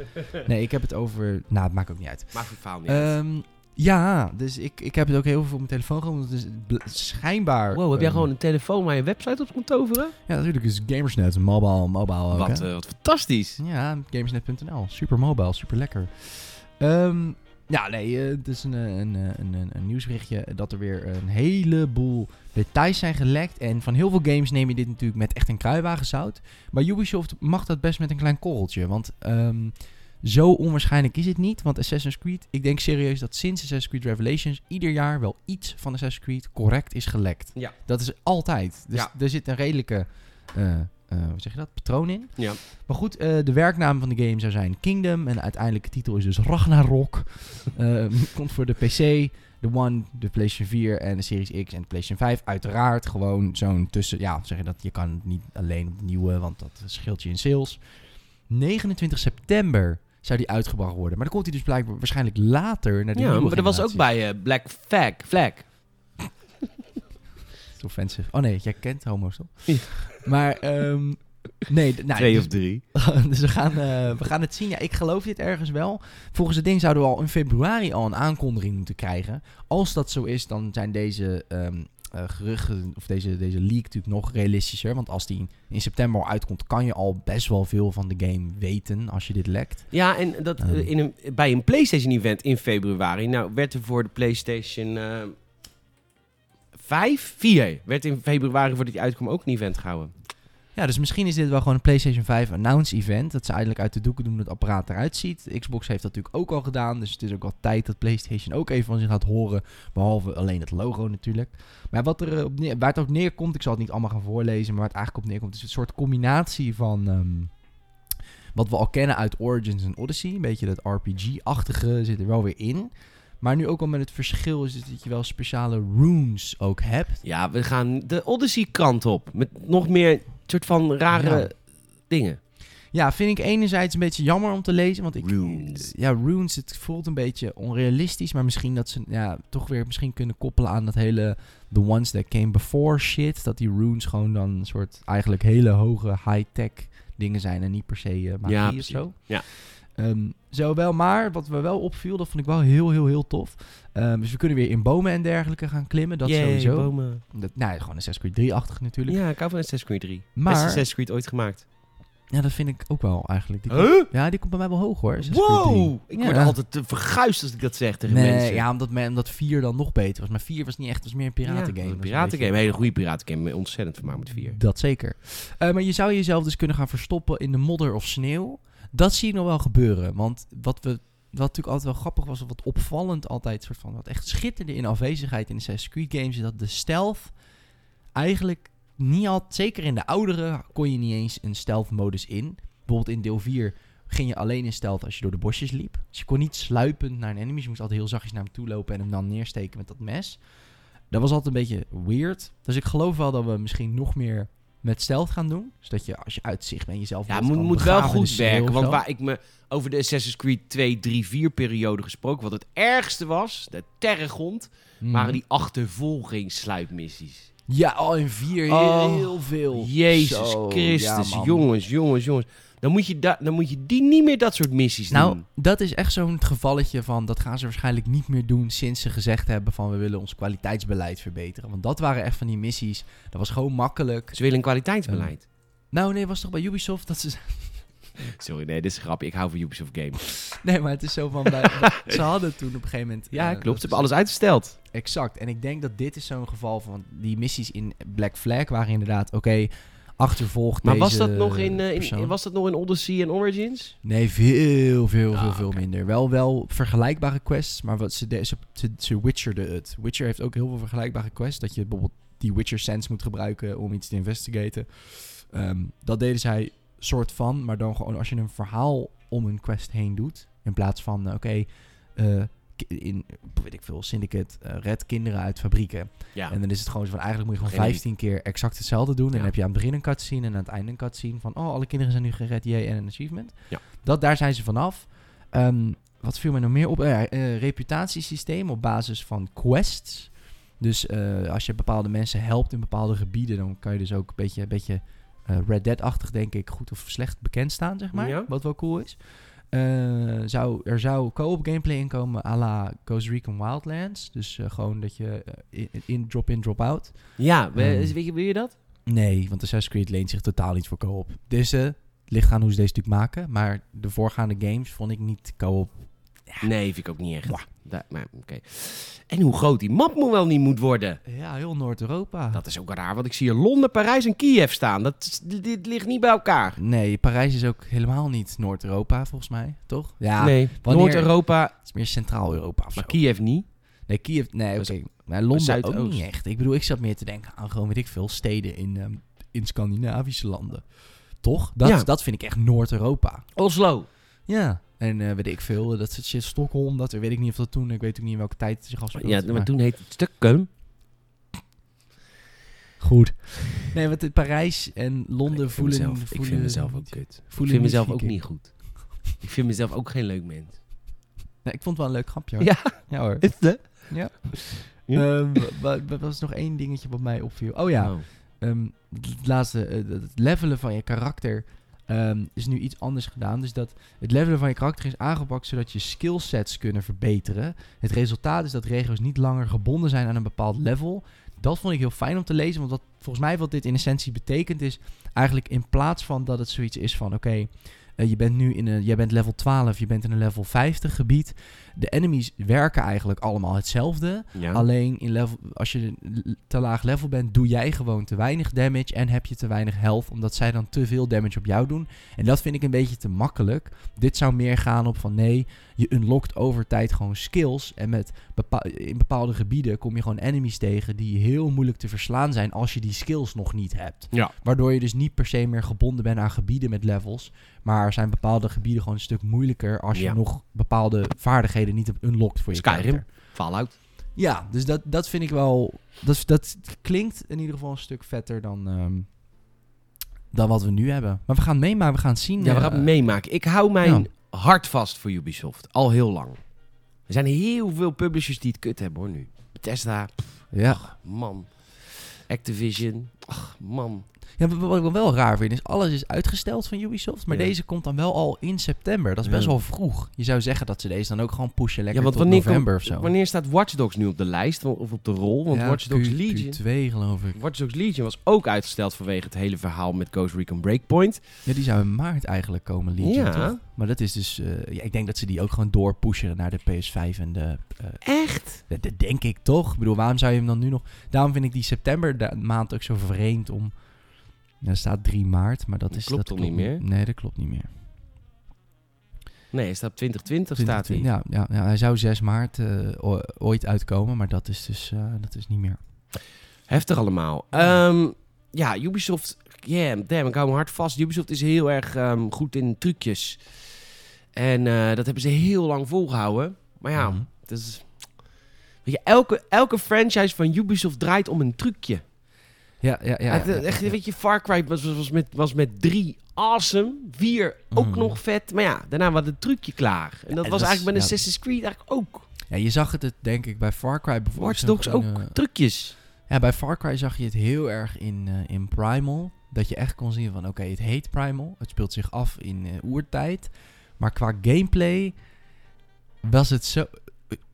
Speaker 2: Nee, ik heb het over... Nou, het maakt ook niet uit.
Speaker 1: Maakt het faal niet uit.
Speaker 2: Ehm, ja, dus ik, ik heb het ook heel veel op mijn telefoon gehad. Dus het bl- schijnbaar...
Speaker 1: Wow, heb jij
Speaker 2: ehm,
Speaker 1: gewoon een telefoon waar je website op komt toveren?
Speaker 2: Ja, natuurlijk is Gamersnet, mobile, mobile ook, hè?
Speaker 1: Wat, eh, wat fantastisch.
Speaker 2: Ja, gamersnet.nl. Super mobile, super lekker. Ehm, ja, nee, eh, het is een, eh, een, eh, een, een, een nieuwsberichtje dat er weer een heleboel details zijn gelekt. En van heel veel games neem je dit natuurlijk met echt een kruiwagenzout. Maar Ubisoft mag dat best met een klein korreltje. Want ehm, zo onwaarschijnlijk is het niet. Want Assassin's Creed, ik denk serieus dat sinds Assassin's Creed Revelations ieder jaar wel iets van Assassin's Creed correct is gelekt.
Speaker 1: Ja.
Speaker 2: Dat is altijd. Dus
Speaker 1: Ja.
Speaker 2: er zit een redelijke eh, eh, hoe zeg je dat, patroon in.
Speaker 1: Ja.
Speaker 2: Maar goed, eh, de werknaam van de game zou zijn Kingdom. En de uiteindelijke titel is dus Ragnarok. Eh, komt voor de PC, de One, de PlayStation 4 en de Series X en de PlayStation 5. Uiteraard gewoon zo'n tussen... Ja, hoe zeg je dat, je kan het niet alleen op de nieuwe, want dat scheelt je in sales. 29 september zou die uitgebracht worden. Maar dan komt hij dus blijkbaar waarschijnlijk later naar de
Speaker 1: Ja,
Speaker 2: nieuwe
Speaker 1: maar dat was ook
Speaker 2: bij.
Speaker 1: bij eh, Black Flag. Flag.
Speaker 2: Offensive. Oh nee, jij kent homo's toch?
Speaker 1: Ja.
Speaker 2: Maar ehm, nee, d- nou,
Speaker 1: Twee
Speaker 2: dus-
Speaker 1: of drie.
Speaker 2: dus we gaan, eh, we gaan het zien. Ja, ik geloof dit ergens wel. Volgens het ding zouden we al in februari al een aankondiging moeten krijgen. Als dat zo is, dan zijn deze ehm, eh, geruchten of deze, deze leak natuurlijk nog realistischer. Want als die in, in september al uitkomt, kan je al best wel veel van de game weten als je dit lekt.
Speaker 1: Ja, en dat, eh, in een, bij een PlayStation-event in februari... Nou, werd er voor de PlayStation eh 5, 4... werd in februari voordat die uitkwam ook een event gehouden.
Speaker 2: Ja, dus misschien is dit wel gewoon een PlayStation 5 announce event. Dat ze eigenlijk uit de doeken doen hoe het apparaat eruit ziet. Xbox heeft dat natuurlijk ook al gedaan. Dus het is ook wel tijd dat PlayStation ook even van zich gaat horen. Behalve alleen het logo natuurlijk. Maar wat er eh, op neer, waar het op neerkomt, ik zal het niet allemaal gaan voorlezen. Maar waar het eigenlijk op neerkomt is een soort combinatie van... ehm, wat we al kennen uit Origins en Odyssey. Een beetje dat RPG-achtige zit er wel weer in. Maar nu ook wel met het verschil is dat je wel speciale runes ook hebt.
Speaker 1: Ja, we gaan de Odyssey-kant op. Met nog meer soort van rare
Speaker 2: Ja.
Speaker 1: dingen.
Speaker 2: Ja, vind ik enerzijds een beetje jammer om te lezen. Want ik, eh,
Speaker 1: Runes.
Speaker 2: Ja, runes, het voelt een beetje onrealistisch. Maar misschien dat ze ja, toch weer misschien kunnen koppelen aan dat hele The Ones That Came Before shit. Dat die runes gewoon dan een soort eigenlijk hele hoge high-tech dingen zijn. En niet per se eh, magie
Speaker 1: Ja,
Speaker 2: of
Speaker 1: precies.
Speaker 2: zo.
Speaker 1: Ja.
Speaker 2: Ehm, zo wel, maar wat me wel opviel, dat vond ik wel heel, heel, heel tof. Ehm, dus we kunnen weer in bomen en dergelijke gaan klimmen. Dat
Speaker 1: Yay,
Speaker 2: sowieso.
Speaker 1: bomen.
Speaker 2: Dat, nou, ja, gewoon een 6 3 achtig natuurlijk.
Speaker 1: Ja, ik hou van Assassin's Creed 3.
Speaker 2: Maar-
Speaker 1: Beste Assassin's Creed ooit gemaakt.
Speaker 2: Ja, dat vind ik ook wel eigenlijk. Die
Speaker 1: Huh?
Speaker 2: Ja, die komt bij mij wel hoog hoor. 6.3.
Speaker 1: Wow! Ik word
Speaker 2: Ja.
Speaker 1: altijd te verguisd als ik dat zeg tegen
Speaker 2: Nee,
Speaker 1: mensen.
Speaker 2: ja, omdat, men, omdat 4 dan nog beter was. Maar 4 was niet echt, was meer een
Speaker 1: Ja,
Speaker 2: piratengame. Dat
Speaker 1: een
Speaker 2: was een
Speaker 1: piratengame.
Speaker 2: beetje-
Speaker 1: Een hele goede piratengame. Ik ben Ontzettend vermaakt met vier.
Speaker 2: Dat zeker. Eh, maar je zou jezelf dus kunnen gaan verstoppen in de modder of sneeuw. Dat zie ik nog wel gebeuren. Want wat we... Wat natuurlijk altijd wel grappig was, of wat opvallend altijd, soort van, wat echt schitterde in afwezigheid in de Assassin's Creed games, is dat de stealth eigenlijk niet al, zeker in de oudere, kon je niet eens een stealth modus in. Bijvoorbeeld in deel 4 ging je alleen in stealth als je door de bosjes liep. Dus je kon niet sluipend naar een enemy, dus je moest altijd heel zachtjes naar hem toe lopen en hem dan neersteken met dat mes. Dat was altijd een beetje weird. Dus ik geloof wel dat we misschien nog meer met stealth gaan doen. Zodat je als je uitzicht bent jezelf
Speaker 1: Ja,
Speaker 2: wat
Speaker 1: moet,
Speaker 2: kan
Speaker 1: moet wel
Speaker 2: begraven in de
Speaker 1: goed
Speaker 2: sneeuw
Speaker 1: werken.
Speaker 2: of
Speaker 1: Want
Speaker 2: zo.
Speaker 1: waar ik me over de Assassin's Creed 2, 3, 4 periode gesproken... wat het ergste was, de terrengond...
Speaker 2: Mhm.
Speaker 1: waren die achtervolgingssluipmissies.
Speaker 2: Ja, al in vier heel,
Speaker 1: Oh,
Speaker 2: veel.
Speaker 1: Jezus
Speaker 2: Zo,
Speaker 1: Christus,
Speaker 2: ja, man.
Speaker 1: jongens, jongens, jongens. Dan moet, je da- dan moet je die niet meer dat soort missies
Speaker 2: Nou,
Speaker 1: doen.
Speaker 2: dat is echt zo'n gevalletje van dat gaan ze waarschijnlijk niet meer doen sinds ze gezegd hebben van we willen ons kwaliteitsbeleid verbeteren. Want dat waren echt van die missies. Dat was gewoon makkelijk.
Speaker 1: Ze willen een kwaliteitsbeleid.
Speaker 2: Nou nee, was toch bij Ubisoft dat ze
Speaker 1: Sorry, nee, dit is grappig. Ik hou van Ubisoft Games.
Speaker 2: Nee, maar het is zo van wij- ze hadden toen op een gegeven moment
Speaker 1: Ja,
Speaker 2: eh,
Speaker 1: klopt.
Speaker 2: dat
Speaker 1: Ze
Speaker 2: is-
Speaker 1: hebben alles uitgesteld.
Speaker 2: Exact. En ik denk dat dit is zo'n geval van die missies in Black Flag waren inderdaad oké achtervolgt
Speaker 1: Maar
Speaker 2: deze
Speaker 1: was dat, nog in, eh, in,
Speaker 2: persoon.
Speaker 1: was dat nog in Odyssey en Origins?
Speaker 2: Nee, veel, veel,
Speaker 1: Ah,
Speaker 2: veel, veel minder. Wel, wel vergelijkbare quests, maar wat ze, de, ze, ze, ze Witcherde het. Witcher heeft ook heel veel vergelijkbare quests. Dat je bijvoorbeeld die Witcher Sense moet gebruiken om iets te investigaten. Ehm, dat deden zij soort van, maar dan gewoon als je een verhaal om een quest heen doet. In plaats van, oké, eh, ki- in, weet ik veel, Syndicate, eh, red kinderen uit fabrieken.
Speaker 1: Ja.
Speaker 2: En dan is het gewoon zo van, eigenlijk moet je gewoon
Speaker 1: Geen
Speaker 2: 15 keer exact hetzelfde doen. En dan
Speaker 1: Ja.
Speaker 2: heb je aan het begin een cutscene en aan het einde een cutscene van... Oh, alle kinderen zijn nu gered, jee, en een achievement.
Speaker 1: Ja.
Speaker 2: Dat, daar zijn ze vanaf. Ehm, wat viel mij nog meer op? Eh, eh, reputatiesysteem op basis van quests. Dus eh, als je bepaalde mensen helpt in bepaalde gebieden... dan kan je dus ook een beetje, een beetje eh, Red Dead-achtig, denk ik... goed of slecht bekend staan, zeg maar.
Speaker 1: Ja.
Speaker 2: Wat wel cool is. Eh, zou, er zou co-op gameplay in komen à la Ghost Recon Wildlands. Dus eh, gewoon dat je eh, in- in, drop-in, drop-out.
Speaker 1: Ja, we-
Speaker 2: Ehm.
Speaker 1: is- weet je, wil je dat?
Speaker 2: Nee, want Assassin's Creed leent zich totaal niet voor co-op. Deze, het ligt aan hoe ze deze natuurlijk maken. Maar de voorgaande games vond ik niet co-op.
Speaker 1: Nee, vind ik ook niet echt.
Speaker 2: Mwah.
Speaker 1: Da- maar, oké. En hoe groot die map moet wel niet moet worden.
Speaker 2: Ja, heel Noord-Europa.
Speaker 1: Dat is ook raar, want ik zie hier Londen, Parijs en Kiev staan. Dat, is- dit- dit ligt niet bij elkaar.
Speaker 2: Nee, Parijs is ook helemaal niet Noord-Europa volgens mij, toch? Ja,
Speaker 1: nee,
Speaker 2: wanneer-
Speaker 1: Noord-Europa,
Speaker 2: het is meer Centraal-Europa of zo.
Speaker 1: maar Kiev niet.
Speaker 2: Nee, Kiev, nee,
Speaker 1: Dat
Speaker 2: oké.
Speaker 1: is-
Speaker 2: Maar Londen ook
Speaker 1: Zuidoost.
Speaker 2: niet echt. Ik bedoel, ik zat meer te denken aan gewoon, weet ik veel, steden in, ehm, in Scandinavische landen. Toch? Dat,
Speaker 1: Ja.
Speaker 2: dat vind ik echt Noord-Europa.
Speaker 1: Oslo.
Speaker 2: Ja. En eh, weet ik veel, eh, dat soort shit, Stockholm, dat weet ik niet of dat toen, ik weet ook niet in welke tijd het zich afspeelde.
Speaker 1: Ja, maar toen heet het Stockholm.
Speaker 2: Goed. Nee, want in Parijs en Londen
Speaker 1: Ik vind
Speaker 2: voelen,
Speaker 1: mezelf- ik
Speaker 2: voelen...
Speaker 1: vind mezelf ook kut. Ik
Speaker 2: voelen
Speaker 1: vind mezelf ook
Speaker 2: Viking.
Speaker 1: niet goed. Ik vind mezelf ook geen leuk mens.
Speaker 2: Nee, Nou, ik vond het wel een leuk grapje. hoor.
Speaker 1: Ja.
Speaker 2: Ja hoor.
Speaker 1: Is het? Ja.
Speaker 2: Ehm, wa- wa- wa- was nog één dingetje wat mij opviel. Oh ja, ehm, het laatste, eh, dat het levelen van je karakter ehm, is nu iets anders gedaan. Dus dat het levelen van je karakter is aangepakt zodat je skillsets kunnen verbeteren. Het resultaat is dat regio's niet langer gebonden zijn aan een bepaald level. Dat vond ik heel fijn om te lezen, want wat, volgens mij wat dit in essentie betekent is eigenlijk in plaats van dat het zoiets is van oké, eh, je bent nu in een, jij bent level 12, je bent in een level 50 gebied. De enemies werken eigenlijk allemaal hetzelfde.
Speaker 1: Ja.
Speaker 2: Alleen in level, als je te laag level bent, doe jij gewoon te weinig damage en heb je te weinig health, omdat zij dan te veel damage op jou doen. En dat vind ik een beetje te makkelijk. Dit zou meer gaan op van nee, je unlockt over tijd gewoon skills. En met bepa- in bepaalde gebieden kom je gewoon enemies tegen die heel moeilijk te verslaan zijn als je die skills nog niet hebt.
Speaker 1: Ja.
Speaker 2: Waardoor je dus niet per se meer gebonden bent aan gebieden met levels. Maar zijn bepaalde gebieden gewoon een stuk moeilijker als je
Speaker 1: Ja.
Speaker 2: nog bepaalde vaardigheden niet hebt unlocked voor je
Speaker 1: Skyrim.
Speaker 2: karakter.
Speaker 1: Fallout.
Speaker 2: Ja, dus dat, dat vind ik wel. Dat, dat klinkt in ieder geval een stuk vetter dan, ehm, dan wat we nu hebben. Maar we gaan het meemaken, we gaan het zien.
Speaker 1: Ja, we
Speaker 2: eh,
Speaker 1: gaan het meemaken. Ik hou mijn hart vast voor Ubisoft. Al heel lang. Er zijn heel veel publishers die het kut hebben hoor nu. Bethesda,
Speaker 2: Ja.
Speaker 1: man. Activision, ach man.
Speaker 2: ja, wat- wat ik dan wel raar vind is, alles is uitgesteld van Ubisoft. Maar
Speaker 1: Ja.
Speaker 2: deze komt dan wel al in september. Dat is best
Speaker 1: Ja.
Speaker 2: wel vroeg. Je zou zeggen dat ze deze dan ook gewoon pushen lekker
Speaker 1: ja, want
Speaker 2: tot
Speaker 1: wanneer,
Speaker 2: november
Speaker 1: komt-
Speaker 2: of zo.
Speaker 1: wanneer staat Watch Dogs nu op de lijst wa- of op de rol? Want
Speaker 2: Ja,
Speaker 1: Watch Dogs
Speaker 2: Q-
Speaker 1: Legion...
Speaker 2: Q2 geloof ik.
Speaker 1: Watch Dogs Legion was ook uitgesteld vanwege het hele verhaal met Ghost Recon Breakpoint.
Speaker 2: Ja, die zou in maart eigenlijk komen, Legion,
Speaker 1: Ja.
Speaker 2: toch? Maar dat is dus... eh, ja, ik denk dat ze die ook gewoon doorpushen naar de PS5 en de... eh,
Speaker 1: Echt?
Speaker 2: Dat, dat denk ik toch. Ik bedoel, waarom zou je hem dan nu nog... Daarom vind ik die september da- maand ook zo vreemd om... Er staat 3 maart, maar dat
Speaker 1: Dat
Speaker 2: is...
Speaker 1: klopt
Speaker 2: dat
Speaker 1: toch niet meer?
Speaker 2: Nee, dat klopt niet meer.
Speaker 1: Nee, hij staat op 2020 staat hij.
Speaker 2: ja, ja, ja, hij zou 6 maart eh, o- ooit uitkomen, maar dat is dus eh, dat is niet meer.
Speaker 1: Heftig allemaal.
Speaker 2: Ja.
Speaker 1: Ehm, ja, Ubisoft. Yeah, damn, ik hou me hard vast. Ubisoft is heel erg ehm, goed in trucjes. En eh, dat hebben ze heel lang volgehouden. Maar ja,
Speaker 2: Mhm.
Speaker 1: het is. Weet je, elke, elke franchise van Ubisoft draait om een trucje.
Speaker 2: Ja, ja, ja.
Speaker 1: Het- eh,
Speaker 2: ja,
Speaker 1: echt,
Speaker 2: ja.
Speaker 1: Weet je, Far Cry was, was, was met, was met drie awesome. Vier ook
Speaker 2: Mhm.
Speaker 1: nog vet. Maar ja, daarna was het trucje klaar. En dat
Speaker 2: en
Speaker 1: was
Speaker 2: dat is-
Speaker 1: eigenlijk
Speaker 2: ja.
Speaker 1: met Assassin's Creed eigenlijk ook.
Speaker 2: Ja, je zag het, het denk ik bij Far Cry bijvoorbeeld.
Speaker 1: Watch
Speaker 2: Zo'n
Speaker 1: Dogs ook.
Speaker 2: kleine-
Speaker 1: Trucjes.
Speaker 2: Ja, bij Far Cry zag je het heel erg in, eh, in Primal. Dat je echt kon zien van, oké, het heet Primal. Het speelt zich af in eh, oertijd. Maar qua gameplay was het zo... eh,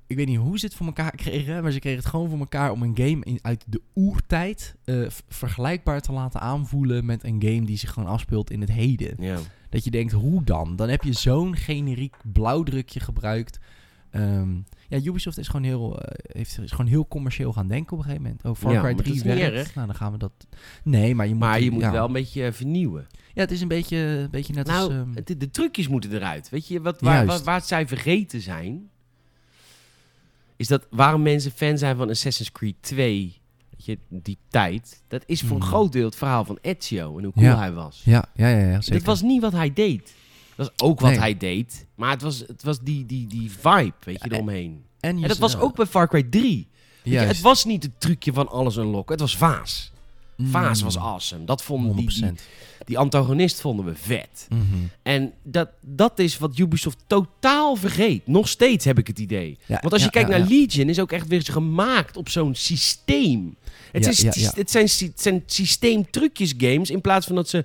Speaker 2: Ik weet niet hoe ze het voor elkaar kregen, maar ze kregen het gewoon voor elkaar om een game in, uit de oertijd eh, v- vergelijkbaar te laten aanvoelen met een game die zich gewoon afspeelt in het heden.
Speaker 1: Ja.
Speaker 2: Dat je denkt, hoe dan? Dan heb je zo'n generiek blauwdrukje gebruikt. Ehm, ja, Ubisoft is gewoon, heel, eh, heeft, is gewoon heel commercieel gaan denken op een gegeven moment. Oh, Far
Speaker 1: Ja,
Speaker 2: Cry
Speaker 1: maar dat
Speaker 2: 3
Speaker 1: is niet
Speaker 2: werkt.
Speaker 1: erg.
Speaker 2: Nou, dan gaan we dat... Nee, maar je moet,
Speaker 1: Maar je moet
Speaker 2: ja.
Speaker 1: wel een beetje eh, vernieuwen.
Speaker 2: Ja, het is een beetje, een beetje net als...
Speaker 1: nou,
Speaker 2: ehm,
Speaker 1: het- de, trucjes moeten eruit. Weet je, wat, waar,
Speaker 2: Juist.
Speaker 1: waar, waar zij vergeten zijn... is dat waarom mensen fan zijn van Assassin's Creed 2... Weet je, die tijd... dat is voor een
Speaker 2: Mhm.
Speaker 1: groot deel het verhaal van Ezio... en hoe cool
Speaker 2: Ja.
Speaker 1: hij was.
Speaker 2: ja, ja, ja, ja, zeker.
Speaker 1: Dat was niet wat hij deed. Dat was ook wat
Speaker 2: Nee.
Speaker 1: hij deed. Maar het was, het was die, die, die vibe, weet je, eromheen.
Speaker 2: je
Speaker 1: En dat
Speaker 2: z-
Speaker 1: was
Speaker 2: ja,
Speaker 1: ook bij Far Cry 3. Weet je,
Speaker 2: juist.
Speaker 1: het was niet het trucje van alles unlocken. Het was Vaas.
Speaker 2: Mm,
Speaker 1: Vaas was awesome. Dat vonden die, die,
Speaker 2: 100%.
Speaker 1: die antagonist vonden we vet.
Speaker 2: Mhm.
Speaker 1: En dat, dat is wat Ubisoft totaal vergeet. Nog steeds heb ik het idee.
Speaker 2: Ja,
Speaker 1: Want als je
Speaker 2: ja,
Speaker 1: kijkt
Speaker 2: ja,
Speaker 1: naar
Speaker 2: ja.
Speaker 1: Legion, is ook echt weer gemaakt op zo'n systeem. Het,
Speaker 2: Ja,
Speaker 1: is,
Speaker 2: ja, ja.
Speaker 1: het zijn, sy- het zijn systeemtrucjes games in plaats van dat ze...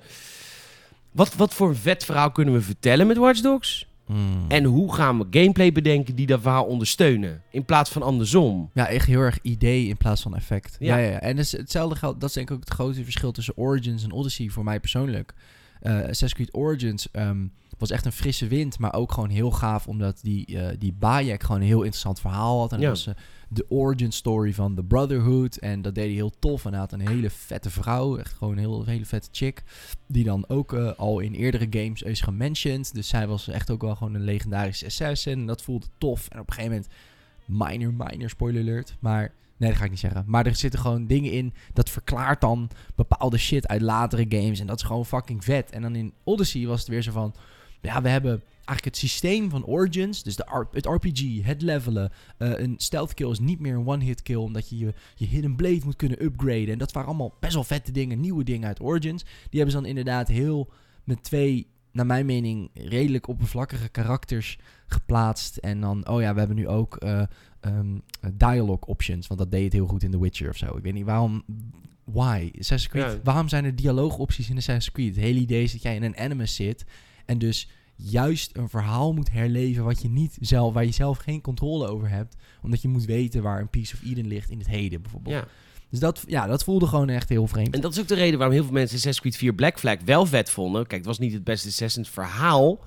Speaker 1: Wat, wat voor een vet verhaal kunnen we vertellen met Watch Dogs?
Speaker 2: Mm.
Speaker 1: En hoe gaan we gameplay bedenken die dat verhaal ondersteunen? In plaats van andersom.
Speaker 2: Ja, echt heel erg idee in plaats van effect.
Speaker 1: Ja.
Speaker 2: Ja, ja. ja. En dus hetzelfde geldt, dat is denk ik ook het grote verschil tussen Origins en Odyssey voor mij persoonlijk. Eh Assassin's Creed Origins ehm, was echt een frisse wind, maar ook gewoon heel gaaf omdat die, eh, die Bayek gewoon een heel interessant verhaal had. En
Speaker 1: Ja.
Speaker 2: dat was eh, de origin story van The Brotherhood en dat deed hij heel tof. En hij had een hele vette vrouw, echt gewoon een heel, een hele vette chick, die dan ook eh, al in eerdere games is gementioned. Dus zij was echt ook wel gewoon een legendarische assassin en dat voelde tof. En op een gegeven moment minor, minor spoiler alert. Maar nee, dat ga ik niet zeggen. Maar er zitten gewoon dingen in dat verklaart dan bepaalde shit uit latere games. En dat is gewoon fucking vet. En dan in Odyssey was het weer zo van, ja, we hebben eigenlijk het systeem van Origins, dus de R- het RPG, het levelen. eh, een stealth kill is niet meer een one-hit kill, omdat je, je je hidden blade moet kunnen upgraden. En dat waren allemaal best wel vette dingen, nieuwe dingen uit Origins. Die hebben ze dan inderdaad heel met twee, naar mijn mening, redelijk oppervlakkige karakters geplaatst. En dan, oh ja, we hebben nu ook eh, ehm, dialogue options, want dat deed het heel goed in The Witcher of zo. Ik weet niet waarom... Why? Assassin's Creed.
Speaker 1: Ja.
Speaker 2: Waarom zijn er dialoogopties in Assassin's Creed? Het hele idee is dat jij in een animus zit en dus juist een verhaal moet herleven wat je niet zelf, waar je zelf geen controle over hebt. Omdat je moet weten waar een piece of Eden ligt in het heden bijvoorbeeld.
Speaker 1: Ja.
Speaker 2: Dus dat, ja, dat voelde gewoon echt heel vreemd.
Speaker 1: En dat is ook de reden waarom heel veel mensen Assassin's Creed 4 Black Flag wel vet vonden. Kijk, het was niet het beste Assassin's verhaal.
Speaker 2: Hmm.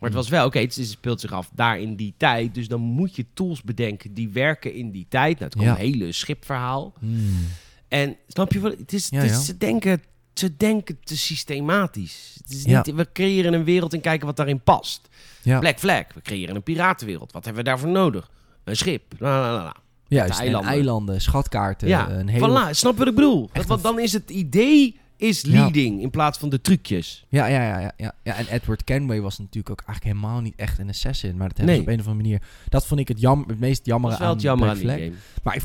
Speaker 1: Maar het was wel, oké, het is- het speelt zich af daar in die tijd. Dus dan moet je tools bedenken die werken in die tijd. Nou, het komt
Speaker 2: Ja.
Speaker 1: een hele schipverhaal.
Speaker 2: Hmm.
Speaker 1: En snap je wat? Het is,
Speaker 2: Ja,
Speaker 1: het is-
Speaker 2: ja.
Speaker 1: Ze, denken, ze denken te systematisch. Het is
Speaker 2: Ja.
Speaker 1: niet, We creëren een wereld en kijken wat daarin past.
Speaker 2: Ja.
Speaker 1: Black Flag, we creëren een piratenwereld. Wat hebben we daarvoor nodig? Een schip. La, la, la, la.
Speaker 2: Juist,
Speaker 1: de
Speaker 2: eilanden.
Speaker 1: eilanden.
Speaker 2: eilanden, schatkaarten,
Speaker 1: ja,
Speaker 2: eh, een hele...
Speaker 1: voilà. Snap je wat ik bedoel? Dat,
Speaker 2: Echt
Speaker 1: want
Speaker 2: een-
Speaker 1: dan is het idee is
Speaker 2: Ja.
Speaker 1: leading in plaats van de trucjes.
Speaker 2: Ja, ja, ja, ja, ja. ja, en Edward Kenway was natuurlijk ook eigenlijk helemaal niet echt een assassin. Maar dat hebben ze
Speaker 1: Nee.
Speaker 2: op een of andere manier... Dat vond ik het, jam, het meest
Speaker 1: Dat
Speaker 2: jammere
Speaker 1: is wel
Speaker 2: aan
Speaker 1: het jammer aan
Speaker 2: Black
Speaker 1: die
Speaker 2: Flag.
Speaker 1: game.
Speaker 2: Maar ik-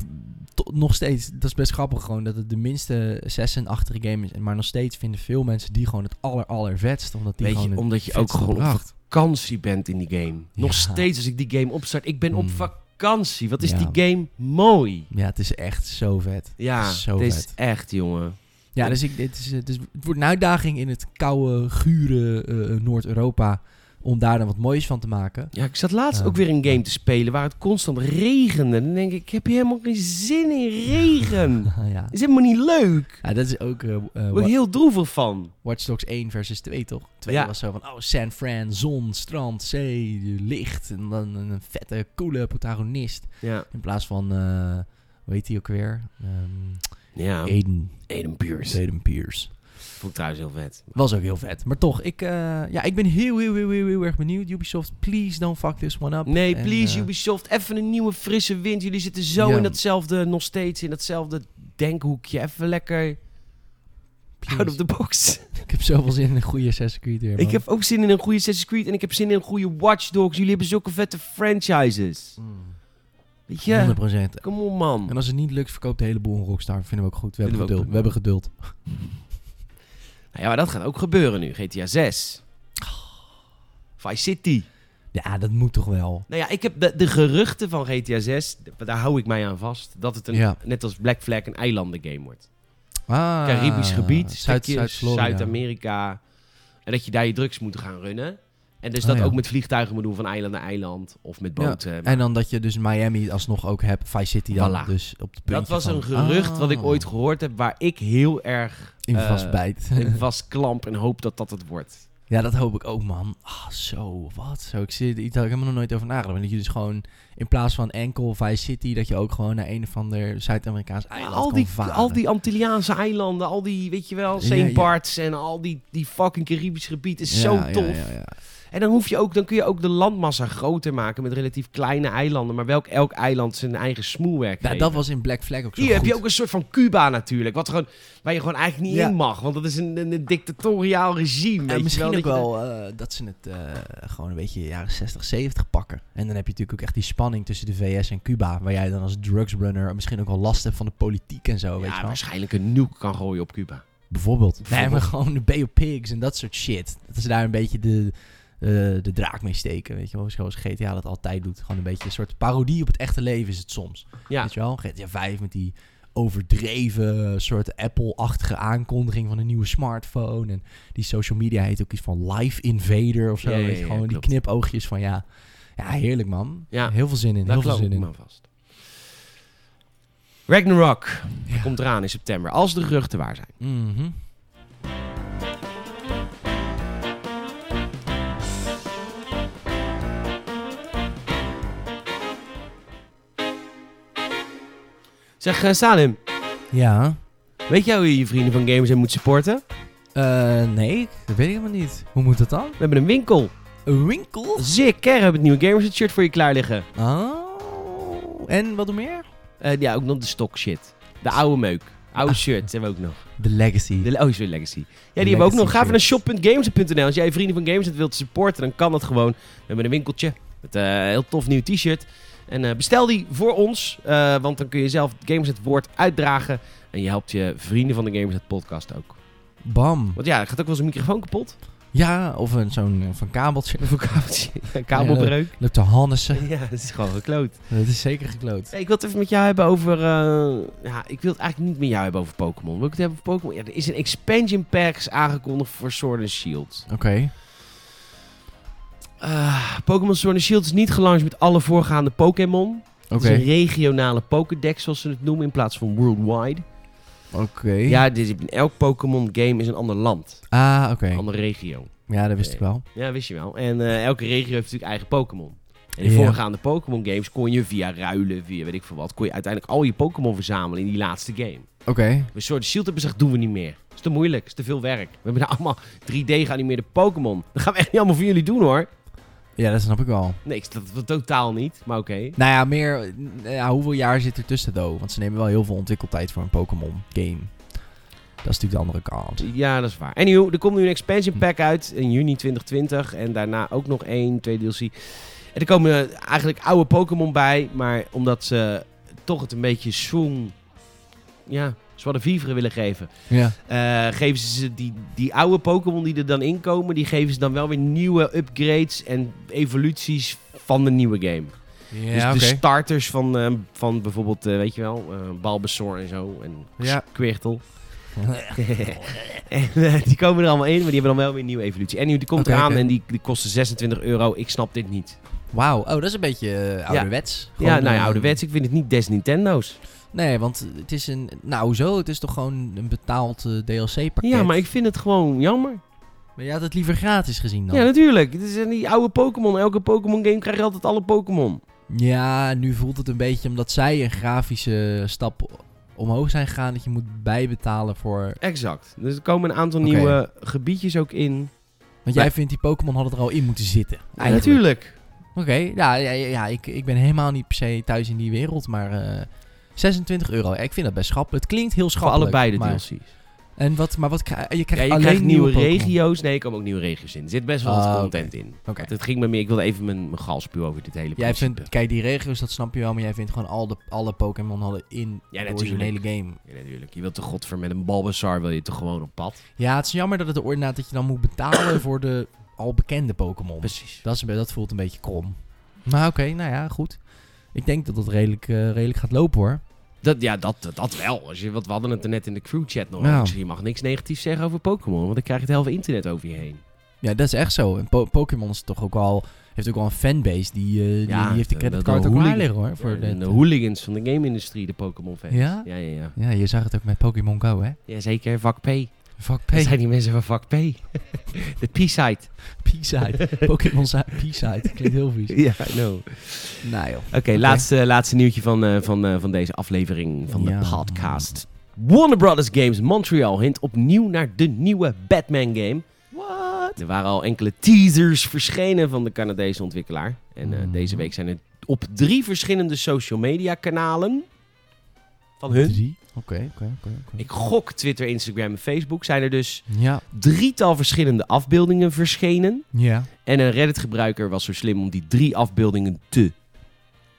Speaker 2: to- nog steeds, dat is best grappig gewoon dat het de minste assassin-achtige game is. En Maar nog steeds vinden veel mensen die gewoon het aller, aller vetst. Omdat die
Speaker 1: Weet je,
Speaker 2: gewoon het
Speaker 1: omdat je ook
Speaker 2: vetste
Speaker 1: gewoon op
Speaker 2: bracht.
Speaker 1: vakantie bent in die game. Nog
Speaker 2: Ja.
Speaker 1: steeds als ik die game opstart. Ik ben op
Speaker 2: Mm.
Speaker 1: vakantie. Wat is
Speaker 2: Ja.
Speaker 1: die game mooi.
Speaker 2: Ja, het is echt zo vet.
Speaker 1: Ja,
Speaker 2: Zo
Speaker 1: dit is
Speaker 2: vet.
Speaker 1: echt, jongen.
Speaker 2: Ja, dus, ik, dit is, eh, dus het wordt een uitdaging in het koude, gure eh, Noord-Europa om daar dan wat moois van te maken.
Speaker 1: Ja, ik zat laatst
Speaker 2: Ja.
Speaker 1: ook weer een game te spelen waar het constant regende. Dan denk ik, ik heb hier helemaal geen zin in regen.
Speaker 2: ja.
Speaker 1: Is helemaal niet leuk.
Speaker 2: ja, dat is ook eh, eh,
Speaker 1: Daar word
Speaker 2: Wa-
Speaker 1: ik heel droevig van.
Speaker 2: Watch Dogs 1 versus 2, toch? 2
Speaker 1: Ja.
Speaker 2: was zo van, oh, San Fran, zon, strand, zee, licht. En dan een vette, coole protagonist.
Speaker 1: Ja,
Speaker 2: In plaats van, eh hoe heet die ook weer? Ehm
Speaker 1: ja.
Speaker 2: Aiden.
Speaker 1: Eden Oh. Pierce.
Speaker 2: Aiden Pierce.
Speaker 1: Vond ik trouwens heel vet.
Speaker 2: Was ook heel vet. Maar toch, ik, eh, ja, ik ben heel, heel, heel, heel, heel erg benieuwd. Ubisoft, please don't fuck this one up.
Speaker 1: Nee,
Speaker 2: En,
Speaker 1: please
Speaker 2: eh,
Speaker 1: Ubisoft, even een nieuwe frisse wind. Jullie zitten zo
Speaker 2: Ja.
Speaker 1: in datzelfde, nog steeds in datzelfde denkhoekje. Even lekker
Speaker 2: please.
Speaker 1: out of the box.
Speaker 2: Ik heb zoveel zin in een goede Assassin's Creed weer, man.
Speaker 1: Ik heb ook zin in een goede Assassin's Creed en ik heb zin in een goede Watch Dogs. Jullie hebben zulke vette franchises.
Speaker 2: Mm,
Speaker 1: Weet je?
Speaker 2: 100%.
Speaker 1: Come on, man.
Speaker 2: En als het niet lukt, verkoopt de hele boel een Rockstar. Vinden we ook goed. We hebben
Speaker 1: Vinden we
Speaker 2: geduld.
Speaker 1: ook
Speaker 2: We hebben geduld.
Speaker 1: Nou ja, maar dat gaat ook gebeuren nu. GTA 6. Vice City.
Speaker 2: Ja, dat moet toch wel.
Speaker 1: Nou ja, ik heb de, de geruchten van GTA 6, daar hou ik mij aan vast, dat het een,
Speaker 2: Ja.
Speaker 1: net als Black Flag een eilandengame wordt.
Speaker 2: Ah,
Speaker 1: Caribisch gebied,
Speaker 2: Zuid-
Speaker 1: stukjes,
Speaker 2: Zuid-Florida.
Speaker 1: Zuid-Amerika. en dat je daar je drugs moet gaan runnen. En dus
Speaker 2: Ah,
Speaker 1: dat
Speaker 2: ja.
Speaker 1: ook met vliegtuigen moet doen van eiland naar eiland. Of met
Speaker 2: Ja,
Speaker 1: boten.
Speaker 2: En dan dat je dus Miami alsnog ook hebt. Vice City dan.
Speaker 1: Voilà.
Speaker 2: Dus op het
Speaker 1: dat
Speaker 2: puntje
Speaker 1: was
Speaker 2: van-
Speaker 1: een gerucht wat ik
Speaker 2: Ah,
Speaker 1: ooit gehoord heb, waar ik heel erg
Speaker 2: In
Speaker 1: eh,
Speaker 2: vastbijt.
Speaker 1: in vastklamp en hoop dat dat het wordt.
Speaker 2: ja, dat hoop ik ook, man. Ah, zo. Wat zo. Ik, zit, ik heb er nog nooit over nagedacht. Maar dat je dus gewoon in plaats van enkel Vice City... dat je ook gewoon naar een of ander Zuid-Amerikaans eiland
Speaker 1: al,
Speaker 2: Ah, kan
Speaker 1: die,
Speaker 2: varen.
Speaker 1: al die Antilliaanse eilanden, al die, weet je wel,
Speaker 2: Ja,
Speaker 1: St.
Speaker 2: ja.
Speaker 1: Barts en al die, die fucking Caribisch gebied is
Speaker 2: Ja,
Speaker 1: zo
Speaker 2: ja,
Speaker 1: tof.
Speaker 2: ja, ja.
Speaker 1: En dan, hoef je ook, dan kun je ook de landmassa groter maken met relatief kleine eilanden, maar welk elk eiland zijn eigen smoelwerk
Speaker 2: Nou,
Speaker 1: heeft.
Speaker 2: dat was in Black Flag ook zo
Speaker 1: Hier heb je
Speaker 2: goed.
Speaker 1: ook een soort van Cuba natuurlijk, wat gewoon, waar je gewoon eigenlijk niet
Speaker 2: Ja.
Speaker 1: in mag, want dat is een, een, een dictatoriaal regime. weet
Speaker 2: En
Speaker 1: je
Speaker 2: misschien
Speaker 1: wel,
Speaker 2: ook
Speaker 1: dat je-
Speaker 2: wel eh, dat ze het eh, gewoon een beetje jaren 60, 70 pakken. En dan heb je natuurlijk ook echt die spanning tussen de VS en Cuba. Waar jij dan als drugsrunner misschien ook wel last hebt van de politiek en zo, weet
Speaker 1: ja,
Speaker 2: je wel.
Speaker 1: waarschijnlijk een nuke kan gooien op Cuba.
Speaker 2: Bijvoorbeeld. Wij
Speaker 1: Bijvoorbeeld.
Speaker 2: hebben gewoon de Bay of Pigs en dat soort shit. Dat ze daar een beetje de, eh, de draak mee steken, weet je wel. Zoals GTA dat altijd doet. Gewoon een beetje een soort parodie op het echte leven is het soms.
Speaker 1: Ja.
Speaker 2: Weet je wel? GTA 5 met die overdreven soort Apple-achtige aankondiging van een nieuwe smartphone. En die social media heet ook iets van Live Invader of zo.
Speaker 1: Ja, ja,
Speaker 2: weet je,
Speaker 1: ja,
Speaker 2: gewoon die
Speaker 1: klopt.
Speaker 2: knipoogjes van ja. Ja, heerlijk man.
Speaker 1: Ja.
Speaker 2: Heel veel zin in.
Speaker 1: Daar
Speaker 2: heel veel
Speaker 1: geloof
Speaker 2: zin
Speaker 1: ik
Speaker 2: in.
Speaker 1: me aan vast. Ragnarok
Speaker 2: Ja.
Speaker 1: komt eraan in september, als de geruchten waar zijn.
Speaker 2: Mhm.
Speaker 1: Zeg, eh, Salim,
Speaker 2: Ja.
Speaker 1: weet jij hoe je je vrienden van Gamers en moet supporten?
Speaker 2: Eh, nee, dat weet ik helemaal niet. Hoe moet dat dan?
Speaker 1: We hebben een winkel.
Speaker 2: Een winkel?
Speaker 1: Zik, Ker hebben het nieuwe Gamers het shirt voor je klaar liggen.
Speaker 2: Oh. En wat nog meer?
Speaker 1: Eh, ja, ook nog de stock shit. De oude meuk. Oude shirts hebben we ook nog.
Speaker 2: The Legacy.
Speaker 1: De, oh, sorry, Legacy. Ja, die hebben we ook nog. Ga even naar
Speaker 2: shirts.
Speaker 1: shop.games.nl. Als jij vrienden van Games wilt supporten, dan kan dat gewoon. We hebben een winkeltje met eh, een heel tof nieuw t-shirt. En eh, bestel die voor ons, eh, want dan kun je zelf Games het woord uitdragen. En je helpt je vrienden van de Games het podcast ook.
Speaker 2: Bam.
Speaker 1: Want ja, er gaat ook wel eens een microfoon kapot.
Speaker 2: Ja, of een, zo'n eh, van kabeltje.
Speaker 1: Of een kabeltje. Een kabelbreuk.
Speaker 2: Loopt de hannessen.
Speaker 1: Ja, dat is gewoon gekloot.
Speaker 2: Dat is zeker gekloot.
Speaker 1: Hey, ik wil het even met jou hebben over... eh, ja, ik wil het eigenlijk niet met jou hebben over Pokémon. Wil ik het hebben over Pokémon? Ja, er is een expansion packs aangekondigd voor Sword and Shield.
Speaker 2: Oké.
Speaker 1: Ah, Pokémon Sword and Shield is niet gelanceerd met alle voorgaande Pokémon.
Speaker 2: Oké.
Speaker 1: Het is een regionale Pokédex, zoals ze het noemen, in plaats van worldwide.
Speaker 2: Oké.
Speaker 1: Ja, dit is, in elk Pokémon game is een ander land,
Speaker 2: Ah, oké.
Speaker 1: een andere regio.
Speaker 2: Ja, dat wist ik wel.
Speaker 1: Ja, wist je wel. En eh, elke regio heeft natuurlijk eigen Pokémon. En in
Speaker 2: Ja.
Speaker 1: voorgaande Pokémon games kon je via ruilen, via weet ik veel wat, kon je uiteindelijk al je Pokémon verzamelen in die laatste game.
Speaker 2: Oké.
Speaker 1: Bij Sword and Shield hebben ze gezegd, doen we niet meer. is te moeilijk, is te veel werk. We hebben daar allemaal 3D geanimeerde Pokémon. Dat gaan we echt niet allemaal voor jullie doen hoor.
Speaker 2: Ja, dat snap ik wel.
Speaker 1: Nee, ik snap dat totaal niet, maar oké.
Speaker 2: Nou ja, meer... eh, Ja, hoeveel jaar zit er tussen, though? Want ze nemen wel heel veel ontwikkeltijd voor een Pokémon-game. Dat is natuurlijk de andere kant.
Speaker 1: Ja, dat is waar. Anywho, er komt nu een expansion pack uit in juni 2020. En daarna ook nog één, twee DLC. En er komen eh, eigenlijk oude Pokémon bij. Maar omdat ze toch het een beetje zoen... Ja, zwarte vivre willen geven.
Speaker 2: Ja.
Speaker 1: eh, geven ze ze die, die oude Pokémon die er dan inkomen... die geven ze dan wel weer nieuwe upgrades en evoluties van de nieuwe game. dus
Speaker 2: Ja,
Speaker 1: de starters van, eh, van bijvoorbeeld, eh, weet je wel... eh Bulbasaur en zo. En
Speaker 2: Ja.
Speaker 1: Quirtle. en, eh, die komen er allemaal in, maar die hebben dan wel weer een nieuwe evolutie. En nu, die komt
Speaker 2: Oké,
Speaker 1: eraan
Speaker 2: oké.
Speaker 1: en die, die kosten 26 euro. Ik snap dit niet.
Speaker 2: Wauw. Oh, dat is een beetje eh, ouderwets.
Speaker 1: ja,
Speaker 2: Gewoon eh,
Speaker 1: nou ja,
Speaker 2: een-
Speaker 1: ouderwets. Ik vind het niet des Nintendo's.
Speaker 2: Nee, want het is een... Nou, zo. Het is toch gewoon een betaald eh, DLC-pakket.
Speaker 1: Ja, maar ik vind het gewoon jammer.
Speaker 2: Maar je had het liever gratis gezien dan.
Speaker 1: Ja, natuurlijk. Het is eh, die oude Pokémon. Elke Pokémon game krijg je altijd alle Pokémon.
Speaker 2: Ja, nu voelt het een beetje omdat zij een grafische stap omhoog zijn gegaan dat je moet bijbetalen voor.
Speaker 1: Exact. Dus er komen een aantal
Speaker 2: Oké.
Speaker 1: nieuwe gebiedjes ook in.
Speaker 2: Want jij vindt die Pokémon hadden er al in moeten zitten.
Speaker 1: Ja,
Speaker 2: eigenlijk.
Speaker 1: natuurlijk.
Speaker 2: Oké, ja, ja, ja, ja, ik, ik ben helemaal niet per se thuis in die wereld, maar eh, 26 euro. Ja, ik vind dat best schappelijk. Het klinkt heel
Speaker 1: Voor
Speaker 2: schappelijk.
Speaker 1: allebei de
Speaker 2: maar,
Speaker 1: DLC's.
Speaker 2: En wat, maar wat krijg je?
Speaker 1: Ja,
Speaker 2: Krijgt
Speaker 1: je
Speaker 2: alleen
Speaker 1: krijgt nieuwe,
Speaker 2: Pokémon.
Speaker 1: regio's. Nee, er komen ook nieuwe regio's in. Er zit best wel
Speaker 2: Ah,
Speaker 1: wat
Speaker 2: oké.
Speaker 1: content in.
Speaker 2: Oké.
Speaker 1: Het ging me meer... Ik wilde even mijn, mijn gal spuwen over dit hele
Speaker 2: Jij
Speaker 1: principe.
Speaker 2: vindt, kijk, die regio's, dat snap je wel, maar jij vindt gewoon al de, alle Pokémon hadden in
Speaker 1: Ja,
Speaker 2: de
Speaker 1: natuurlijk.
Speaker 2: originele game.
Speaker 1: Ja, natuurlijk. Je wilt toch godver met een Balbazar wil je toch gewoon op pad?
Speaker 2: Ja, het is jammer dat het er inderdaad dat je dan moet betalen voor de al bekende Pokémon.
Speaker 1: Precies.
Speaker 2: Dat, is, een be- dat voelt een beetje krom. Maar oké, nou ja, goed. Ik denk dat dat redelijk, eh, redelijk gaat lopen hoor.
Speaker 1: Dat, ja, dat, dat- dat wel. Als je, wat, we hadden het er net in de crewchat nog
Speaker 2: Ja.
Speaker 1: over. Je mag niks negatiefs zeggen over Pokémon, want dan krijg je het hele internet over je heen.
Speaker 2: Ja, dat is echt zo. En Po- Pokémon is toch ook al, heeft ook al een fanbase die, eh, die,
Speaker 1: Ja,
Speaker 2: die heeft de
Speaker 1: de- de-
Speaker 2: creditcard
Speaker 1: de
Speaker 2: ook waar
Speaker 1: hooligan-
Speaker 2: liggen hoor. Voor
Speaker 1: Ja,
Speaker 2: de,
Speaker 1: en de hooligans van de game-industrie, de Pokémon-fans.
Speaker 2: Ja?
Speaker 1: Ja, ja, ja.
Speaker 2: ja, je zag het ook met Pokémon Go hè.
Speaker 1: Ja, zeker. Vak P.
Speaker 2: Fuck P.
Speaker 1: Dat zijn die mensen van vak P. de P-site.
Speaker 2: P-side. Pokémon za- P-side. Klinkt heel vies.
Speaker 1: Ja, I know. Oké,
Speaker 2: Nou joh.
Speaker 1: laatste, laatste nieuwtje van, eh, van, eh, van deze aflevering van
Speaker 2: Ja.
Speaker 1: de podcast. Warner Brothers Games Montreal hint opnieuw naar de nieuwe Batman-game.
Speaker 2: What?
Speaker 1: Er waren al enkele teasers verschenen van de Canadese ontwikkelaar. En eh,
Speaker 2: Mhm.
Speaker 1: deze week zijn er op drie verschillende social media kanalen van hun.
Speaker 2: Drie. Oké, oké, oké, oké.
Speaker 1: Ik gok Twitter, Instagram en Facebook. Zijn er dus
Speaker 2: Ja.
Speaker 1: drietal verschillende afbeeldingen verschenen.
Speaker 2: Ja.
Speaker 1: En een Reddit-gebruiker was zo slim om die drie afbeeldingen te...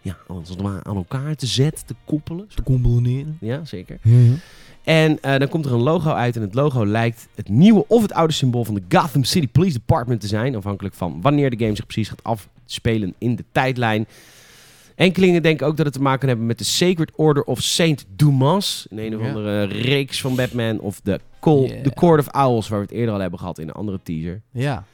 Speaker 1: Ja, als het ware aan elkaar te zetten, te koppelen.
Speaker 2: Te combineren.
Speaker 1: Ja, zeker.
Speaker 2: Ja, ja.
Speaker 1: En eh, dan komt er een logo uit. En het logo lijkt het nieuwe of het oude symbool van de Gotham City Police Department te zijn. Afhankelijk van wanneer de game zich precies gaat afspelen in de tijdlijn. Enkelingen denken ook dat het te maken kan hebben met de Sacred Order of Saint Dumas. Een een of
Speaker 2: Ja.
Speaker 1: andere reeks van Batman. Of de, Col-
Speaker 2: Ja.
Speaker 1: de Court of Owls, waar we het eerder al hebben gehad in een andere teaser.
Speaker 2: Ja.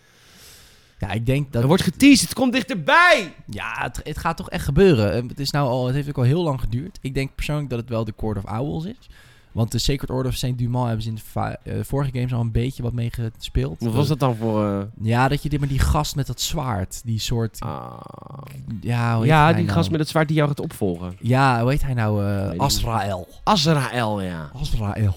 Speaker 2: Ja, ik denk dat...
Speaker 1: Er wordt geteased, het komt dichterbij!
Speaker 2: Ja, het, het gaat toch echt gebeuren. Eh, Het, is nou al, het heeft ook al heel lang geduurd. Ik denk persoonlijk dat het wel de Court of Owls is. Want de Sacred Order of Saint Dumas hebben ze in de va- eh, vorige games al een beetje wat mee gespeeld.
Speaker 1: Wat was dat dan voor... eh,
Speaker 2: Ja, dat je dit maar die gast met dat zwaard. Die soort...
Speaker 1: ah.
Speaker 2: Ja, hoe heet
Speaker 1: ja,
Speaker 2: hij
Speaker 1: die
Speaker 2: nou?
Speaker 1: gast met het zwaard die jou gaat opvolgen.
Speaker 2: Ja, hoe heet hij nou?
Speaker 1: Weet
Speaker 2: eh
Speaker 1: niet.
Speaker 2: Azrael.
Speaker 1: Azrael, ja.
Speaker 2: Azrael.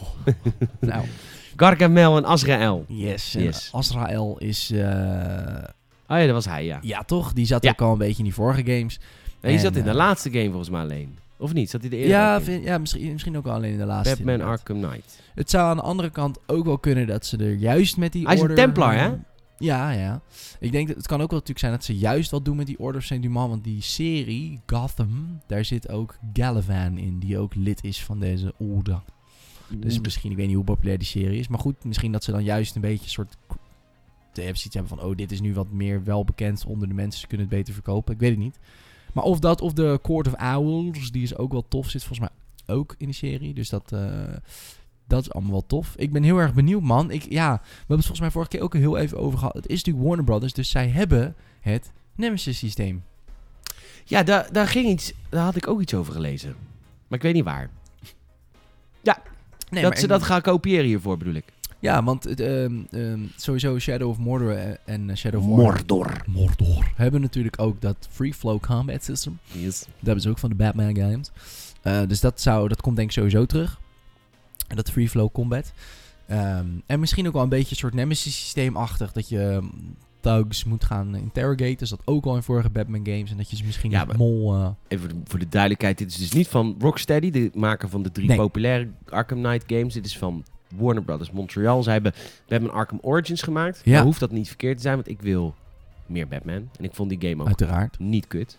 Speaker 2: nou,
Speaker 1: Oh. Gargamel en Azrael.
Speaker 2: yes. En
Speaker 1: Yes.
Speaker 2: Azrael is... eh,
Speaker 1: Oh ja, dat was hij, ja.
Speaker 2: ja, toch? Die zat
Speaker 1: Ja.
Speaker 2: ook al een beetje in die vorige games.
Speaker 1: Nee, je
Speaker 2: En,
Speaker 1: zat in de
Speaker 2: eh,
Speaker 1: laatste game volgens mij alleen. Of niet? Zat hij de eerste?
Speaker 2: Ja,
Speaker 1: ook in?
Speaker 2: vind- ja misschien, misschien ook wel alleen in de laatste.
Speaker 1: Batman
Speaker 2: inderdaad.
Speaker 1: Arkham Knight.
Speaker 2: Het zou aan de andere kant ook wel kunnen dat ze er juist met die
Speaker 1: Hij is een
Speaker 2: order...
Speaker 1: Templar, hè?
Speaker 2: Ja, ja. Ik denk, dat het kan ook wel natuurlijk zijn dat ze juist wat doen met die Order of St. Dumas. Want die serie, Gotham, daar zit ook Gallivan in, die ook lid is van deze order. Dus misschien, ik weet niet hoe populair die serie is. Maar goed, misschien dat ze dan juist een beetje een soort... Ze hebben zoiets hebben van, oh, dit is nu wat meer welbekend onder de mensen. Ze kunnen het beter verkopen. Ik weet het niet. Maar of dat, of de Court of Owls, die is ook wel tof. Zit volgens mij ook in de serie. Dus dat, eh, dat is allemaal wel tof. Ik ben heel erg benieuwd, man. Ik, ja, we hebben het volgens mij vorige keer ook heel even over gehad. Het is natuurlijk Warner Brothers, dus zij hebben het Nemesis-systeem.
Speaker 1: Ja, daar, daar ging iets... Daar had ik ook iets over gelezen. Maar ik weet niet waar.
Speaker 2: Nee,
Speaker 1: dat ze dat gaan kopiëren hiervoor, bedoel ik.
Speaker 2: Ja, want het, ehm, ehm, sowieso Shadow of Mordor en- en eh, Shadow of War
Speaker 1: Mordor.
Speaker 2: Mordor. Hebben natuurlijk ook dat Free Flow Combat System.
Speaker 1: Yes.
Speaker 2: Dat hebben ze ook van de Batman games. Eh, dus dat, zou, dat komt denk ik sowieso terug. En Dat Free Flow Combat. Ehm, en misschien ook wel een beetje een soort nemesis systeemachtig. Dat je mm, thugs moet gaan interrogaten. Dus dat ook al in vorige Batman games. En dat je ze misschien
Speaker 1: Ja,
Speaker 2: met
Speaker 1: maar-
Speaker 2: mol... eh,
Speaker 1: Even voor de- voor de duidelijkheid, dit is dus niet van Rocksteady, de maker van de drie
Speaker 2: Nee.
Speaker 1: populaire Arkham Knight games. Dit is van Warner Brothers Montreal. Zij hebben Batman Arkham Origins gemaakt.
Speaker 2: Ja.
Speaker 1: Maar hoeft dat niet verkeerd te zijn, want ik wil meer Batman. En ik vond die game ook
Speaker 2: uiteraard.
Speaker 1: niet kut.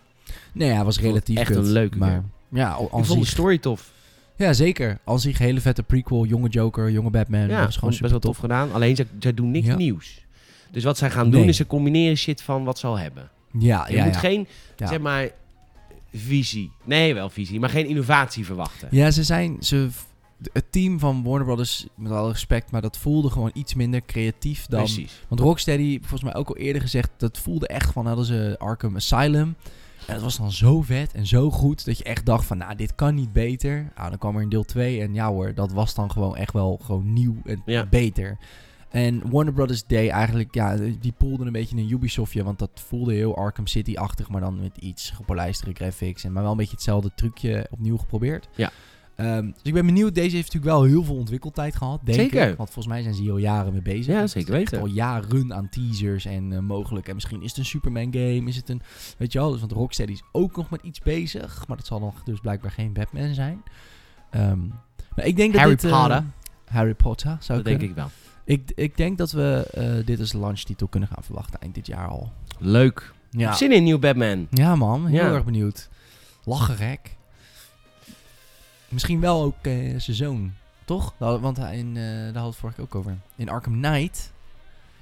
Speaker 2: Nee, ja, was
Speaker 1: vond het
Speaker 2: relatief
Speaker 1: echt een
Speaker 2: kut,
Speaker 1: leuke
Speaker 2: maar,
Speaker 1: game.
Speaker 2: Ja, al,
Speaker 1: ik
Speaker 2: al
Speaker 1: vond de
Speaker 2: zich,
Speaker 1: story tof.
Speaker 2: ja, zeker. Al zich hele vette prequel. Jonge Joker, jonge
Speaker 1: ja,
Speaker 2: Batman. dat is
Speaker 1: gewoon
Speaker 2: gewoon
Speaker 1: best wel
Speaker 2: super
Speaker 1: tof gedaan. Alleen, zij, zij doen niks
Speaker 2: Ja.
Speaker 1: nieuws. Dus wat zij gaan doen,
Speaker 2: Nee.
Speaker 1: is ze combineren shit van wat ze al hebben.
Speaker 2: Ja,
Speaker 1: Je
Speaker 2: ja,
Speaker 1: moet
Speaker 2: ja.
Speaker 1: geen,
Speaker 2: Ja.
Speaker 1: zeg maar, visie. Nee, wel visie, maar geen innovatie verwachten.
Speaker 2: Ja, ze zijn. Ze, het team van Warner Brothers, met alle respect, maar dat voelde gewoon iets minder creatief dan.
Speaker 1: Precies.
Speaker 2: Want Rocksteady, volgens mij ook al eerder gezegd, dat voelde echt van hadden ze Arkham Asylum. En het was dan zo vet en zo goed dat je echt dacht van, nou, dit kan niet beter. Nou, dan kwam er een deel 2 en ja hoor, dat was dan gewoon echt wel gewoon nieuw en
Speaker 1: Ja.
Speaker 2: beter. En Warner Brothers deed eigenlijk, ja, die poelde een beetje een Ubisoftje, want dat voelde heel Arkham City-achtig, maar dan met iets gepolijstere graphics en maar wel een beetje hetzelfde trucje opnieuw geprobeerd.
Speaker 1: Ja.
Speaker 2: Ehm, dus ik ben benieuwd, deze heeft natuurlijk wel heel veel ontwikkeltijd gehad, denk
Speaker 1: Zeker.
Speaker 2: ik. Want volgens mij zijn ze hier al jaren mee bezig.
Speaker 1: Ja,
Speaker 2: Het is
Speaker 1: zeker
Speaker 2: echt
Speaker 1: weten.
Speaker 2: Al jaren aan teasers en eh, mogelijk. En misschien is het een Superman game, is het een, weet je wel. Dus, want Rocksteady is ook nog met iets bezig, maar dat zal dan dus blijkbaar geen Batman zijn. Ehm, maar ik denk dat
Speaker 1: Harry
Speaker 2: dit, eh,
Speaker 1: Potter.
Speaker 2: Harry Potter zou
Speaker 1: Dat denk ik wel.
Speaker 2: ik, ik denk dat we eh, dit als launchtitel kunnen gaan verwachten eind dit jaar al.
Speaker 1: Leuk.
Speaker 2: Ja,
Speaker 1: Zin in nieuw Batman.
Speaker 2: ja man. Heel
Speaker 1: Ja.
Speaker 2: erg benieuwd. Lachen gek. Misschien wel ook eh, zijn zoon, toch? Nou, Want hij in, eh, daar had het vorige keer ook over. In Arkham Knight.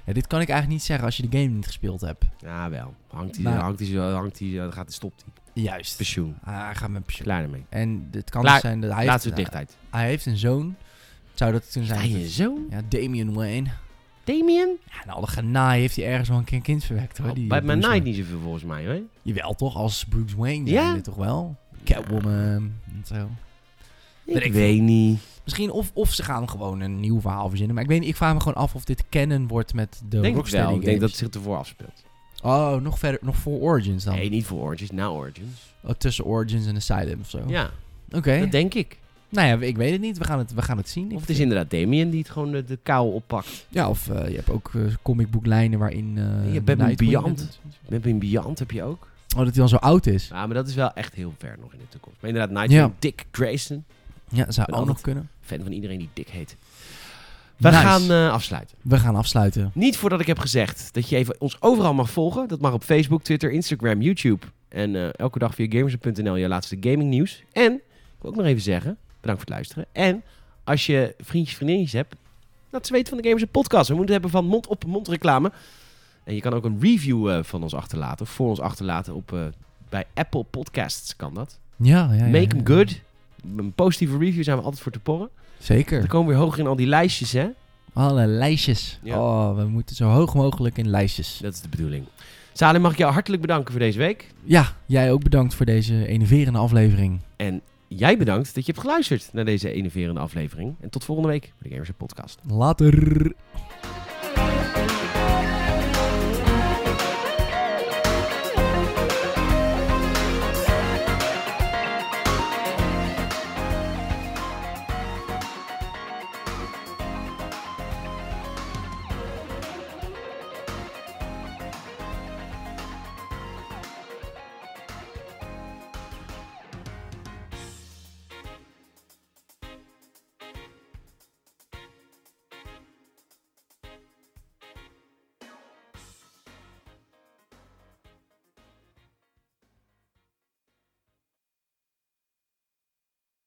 Speaker 2: Ja, dit kan ik eigenlijk niet zeggen als je de game niet gespeeld hebt.
Speaker 1: Ja, wel. Hangt hij,
Speaker 2: Maar-
Speaker 1: hangt hij, zo- hangt hij, eh, dan gaat hij, stopt hij.
Speaker 2: Juist.
Speaker 1: Pensioen.
Speaker 2: Ah, hij gaat met pensioen.
Speaker 1: Klaar ermee.
Speaker 2: En het kan
Speaker 1: Klaar.
Speaker 2: dus zijn dat hij
Speaker 1: Laatste
Speaker 2: heeft,
Speaker 1: dichtheid.
Speaker 2: hij dus- heeft een zoon. Zou dat kunnen
Speaker 1: Ja,
Speaker 2: zijn? dat-
Speaker 1: je zoon?
Speaker 2: Ja, Damian Wayne.
Speaker 1: Damien?
Speaker 2: Ja, en alle genaai heeft hij ergens wel een keer een kind verwekt hoor.
Speaker 1: Oh,
Speaker 2: die eh,
Speaker 1: bij mijn
Speaker 2: Bruce
Speaker 1: night niet zoveel volgens mij, hè?
Speaker 2: Jawel toch, als Bruce Wayne
Speaker 1: Ja?
Speaker 2: zijn dit toch wel? Catwoman en zo.
Speaker 1: Ik,
Speaker 2: weet ik
Speaker 1: weet niet.
Speaker 2: Misschien of, of ze gaan gewoon een nieuw verhaal verzinnen. Maar ik weet niet, ik vraag me gewoon af of dit canon wordt met de
Speaker 1: denk ik
Speaker 2: Rocksteady
Speaker 1: wel. Ik denk dat
Speaker 2: games.
Speaker 1: het zich ervoor afspeelt.
Speaker 2: Oh, nog verder, nog voor Origins dan?
Speaker 1: Nee, niet voor Origins, na Origins.
Speaker 2: Oh, tussen Origins en Asylum of zo?
Speaker 1: Ja,
Speaker 2: Oké.
Speaker 1: dat denk ik.
Speaker 2: Nou ja, ik weet het niet. We gaan het, we gaan het zien.
Speaker 1: Of
Speaker 2: Ik
Speaker 1: het is
Speaker 2: vind-
Speaker 1: inderdaad Damien die het gewoon de, de kou oppakt.
Speaker 2: Ja, of eh, je hebt ook eh, comicboeklijnen waarin... eh,
Speaker 1: Je Batman
Speaker 2: Nightwing-
Speaker 1: Beyond. Met een Beyond heb je ook.
Speaker 2: Oh, dat hij dan zo oud is.
Speaker 1: Ja, maar dat is wel echt heel ver nog in de toekomst. Maar inderdaad, Nightwing,
Speaker 2: Ja.
Speaker 1: Dick Grayson.
Speaker 2: Ja,
Speaker 1: Ben
Speaker 2: zou ook nog
Speaker 1: altijd-
Speaker 2: kunnen.
Speaker 1: Fan van iedereen die Dick heet. We
Speaker 2: Nice.
Speaker 1: gaan eh, afsluiten.
Speaker 2: We gaan afsluiten.
Speaker 1: Niet voordat ik heb gezegd dat je even ons overal mag volgen. Dat mag op Facebook, Twitter, Instagram, YouTube. En eh, elke dag via gamers.nl je laatste gaming nieuws. En ik wil ook nog even zeggen, bedankt voor het luisteren. En als je vriendjes vriendinnetjes hebt, laat ze weten van de Gamers podcast. We moeten het hebben van mond op mond reclame. En je kan ook een review eh, van ons achterlaten, of voor ons achterlaten op, eh, bij Apple Podcasts kan dat.
Speaker 2: Ja, ja, ja,
Speaker 1: Make
Speaker 2: ja,
Speaker 1: them
Speaker 2: ja.
Speaker 1: good. Een positieve review zijn we altijd voor te porren. Dan
Speaker 2: Zeker.
Speaker 1: komen we weer hoger in al die lijstjes, hè?
Speaker 2: Alle lijstjes.
Speaker 1: Ja.
Speaker 2: Oh, we moeten zo hoog mogelijk in lijstjes.
Speaker 1: Dat is de bedoeling. Salim, mag ik jou hartelijk bedanken voor deze week.
Speaker 2: Ja, jij ook bedankt voor deze enerverende aflevering.
Speaker 1: En jij bedankt dat je hebt geluisterd naar deze enerverende aflevering. En tot volgende week bij de Gamers Podcast.
Speaker 2: Later.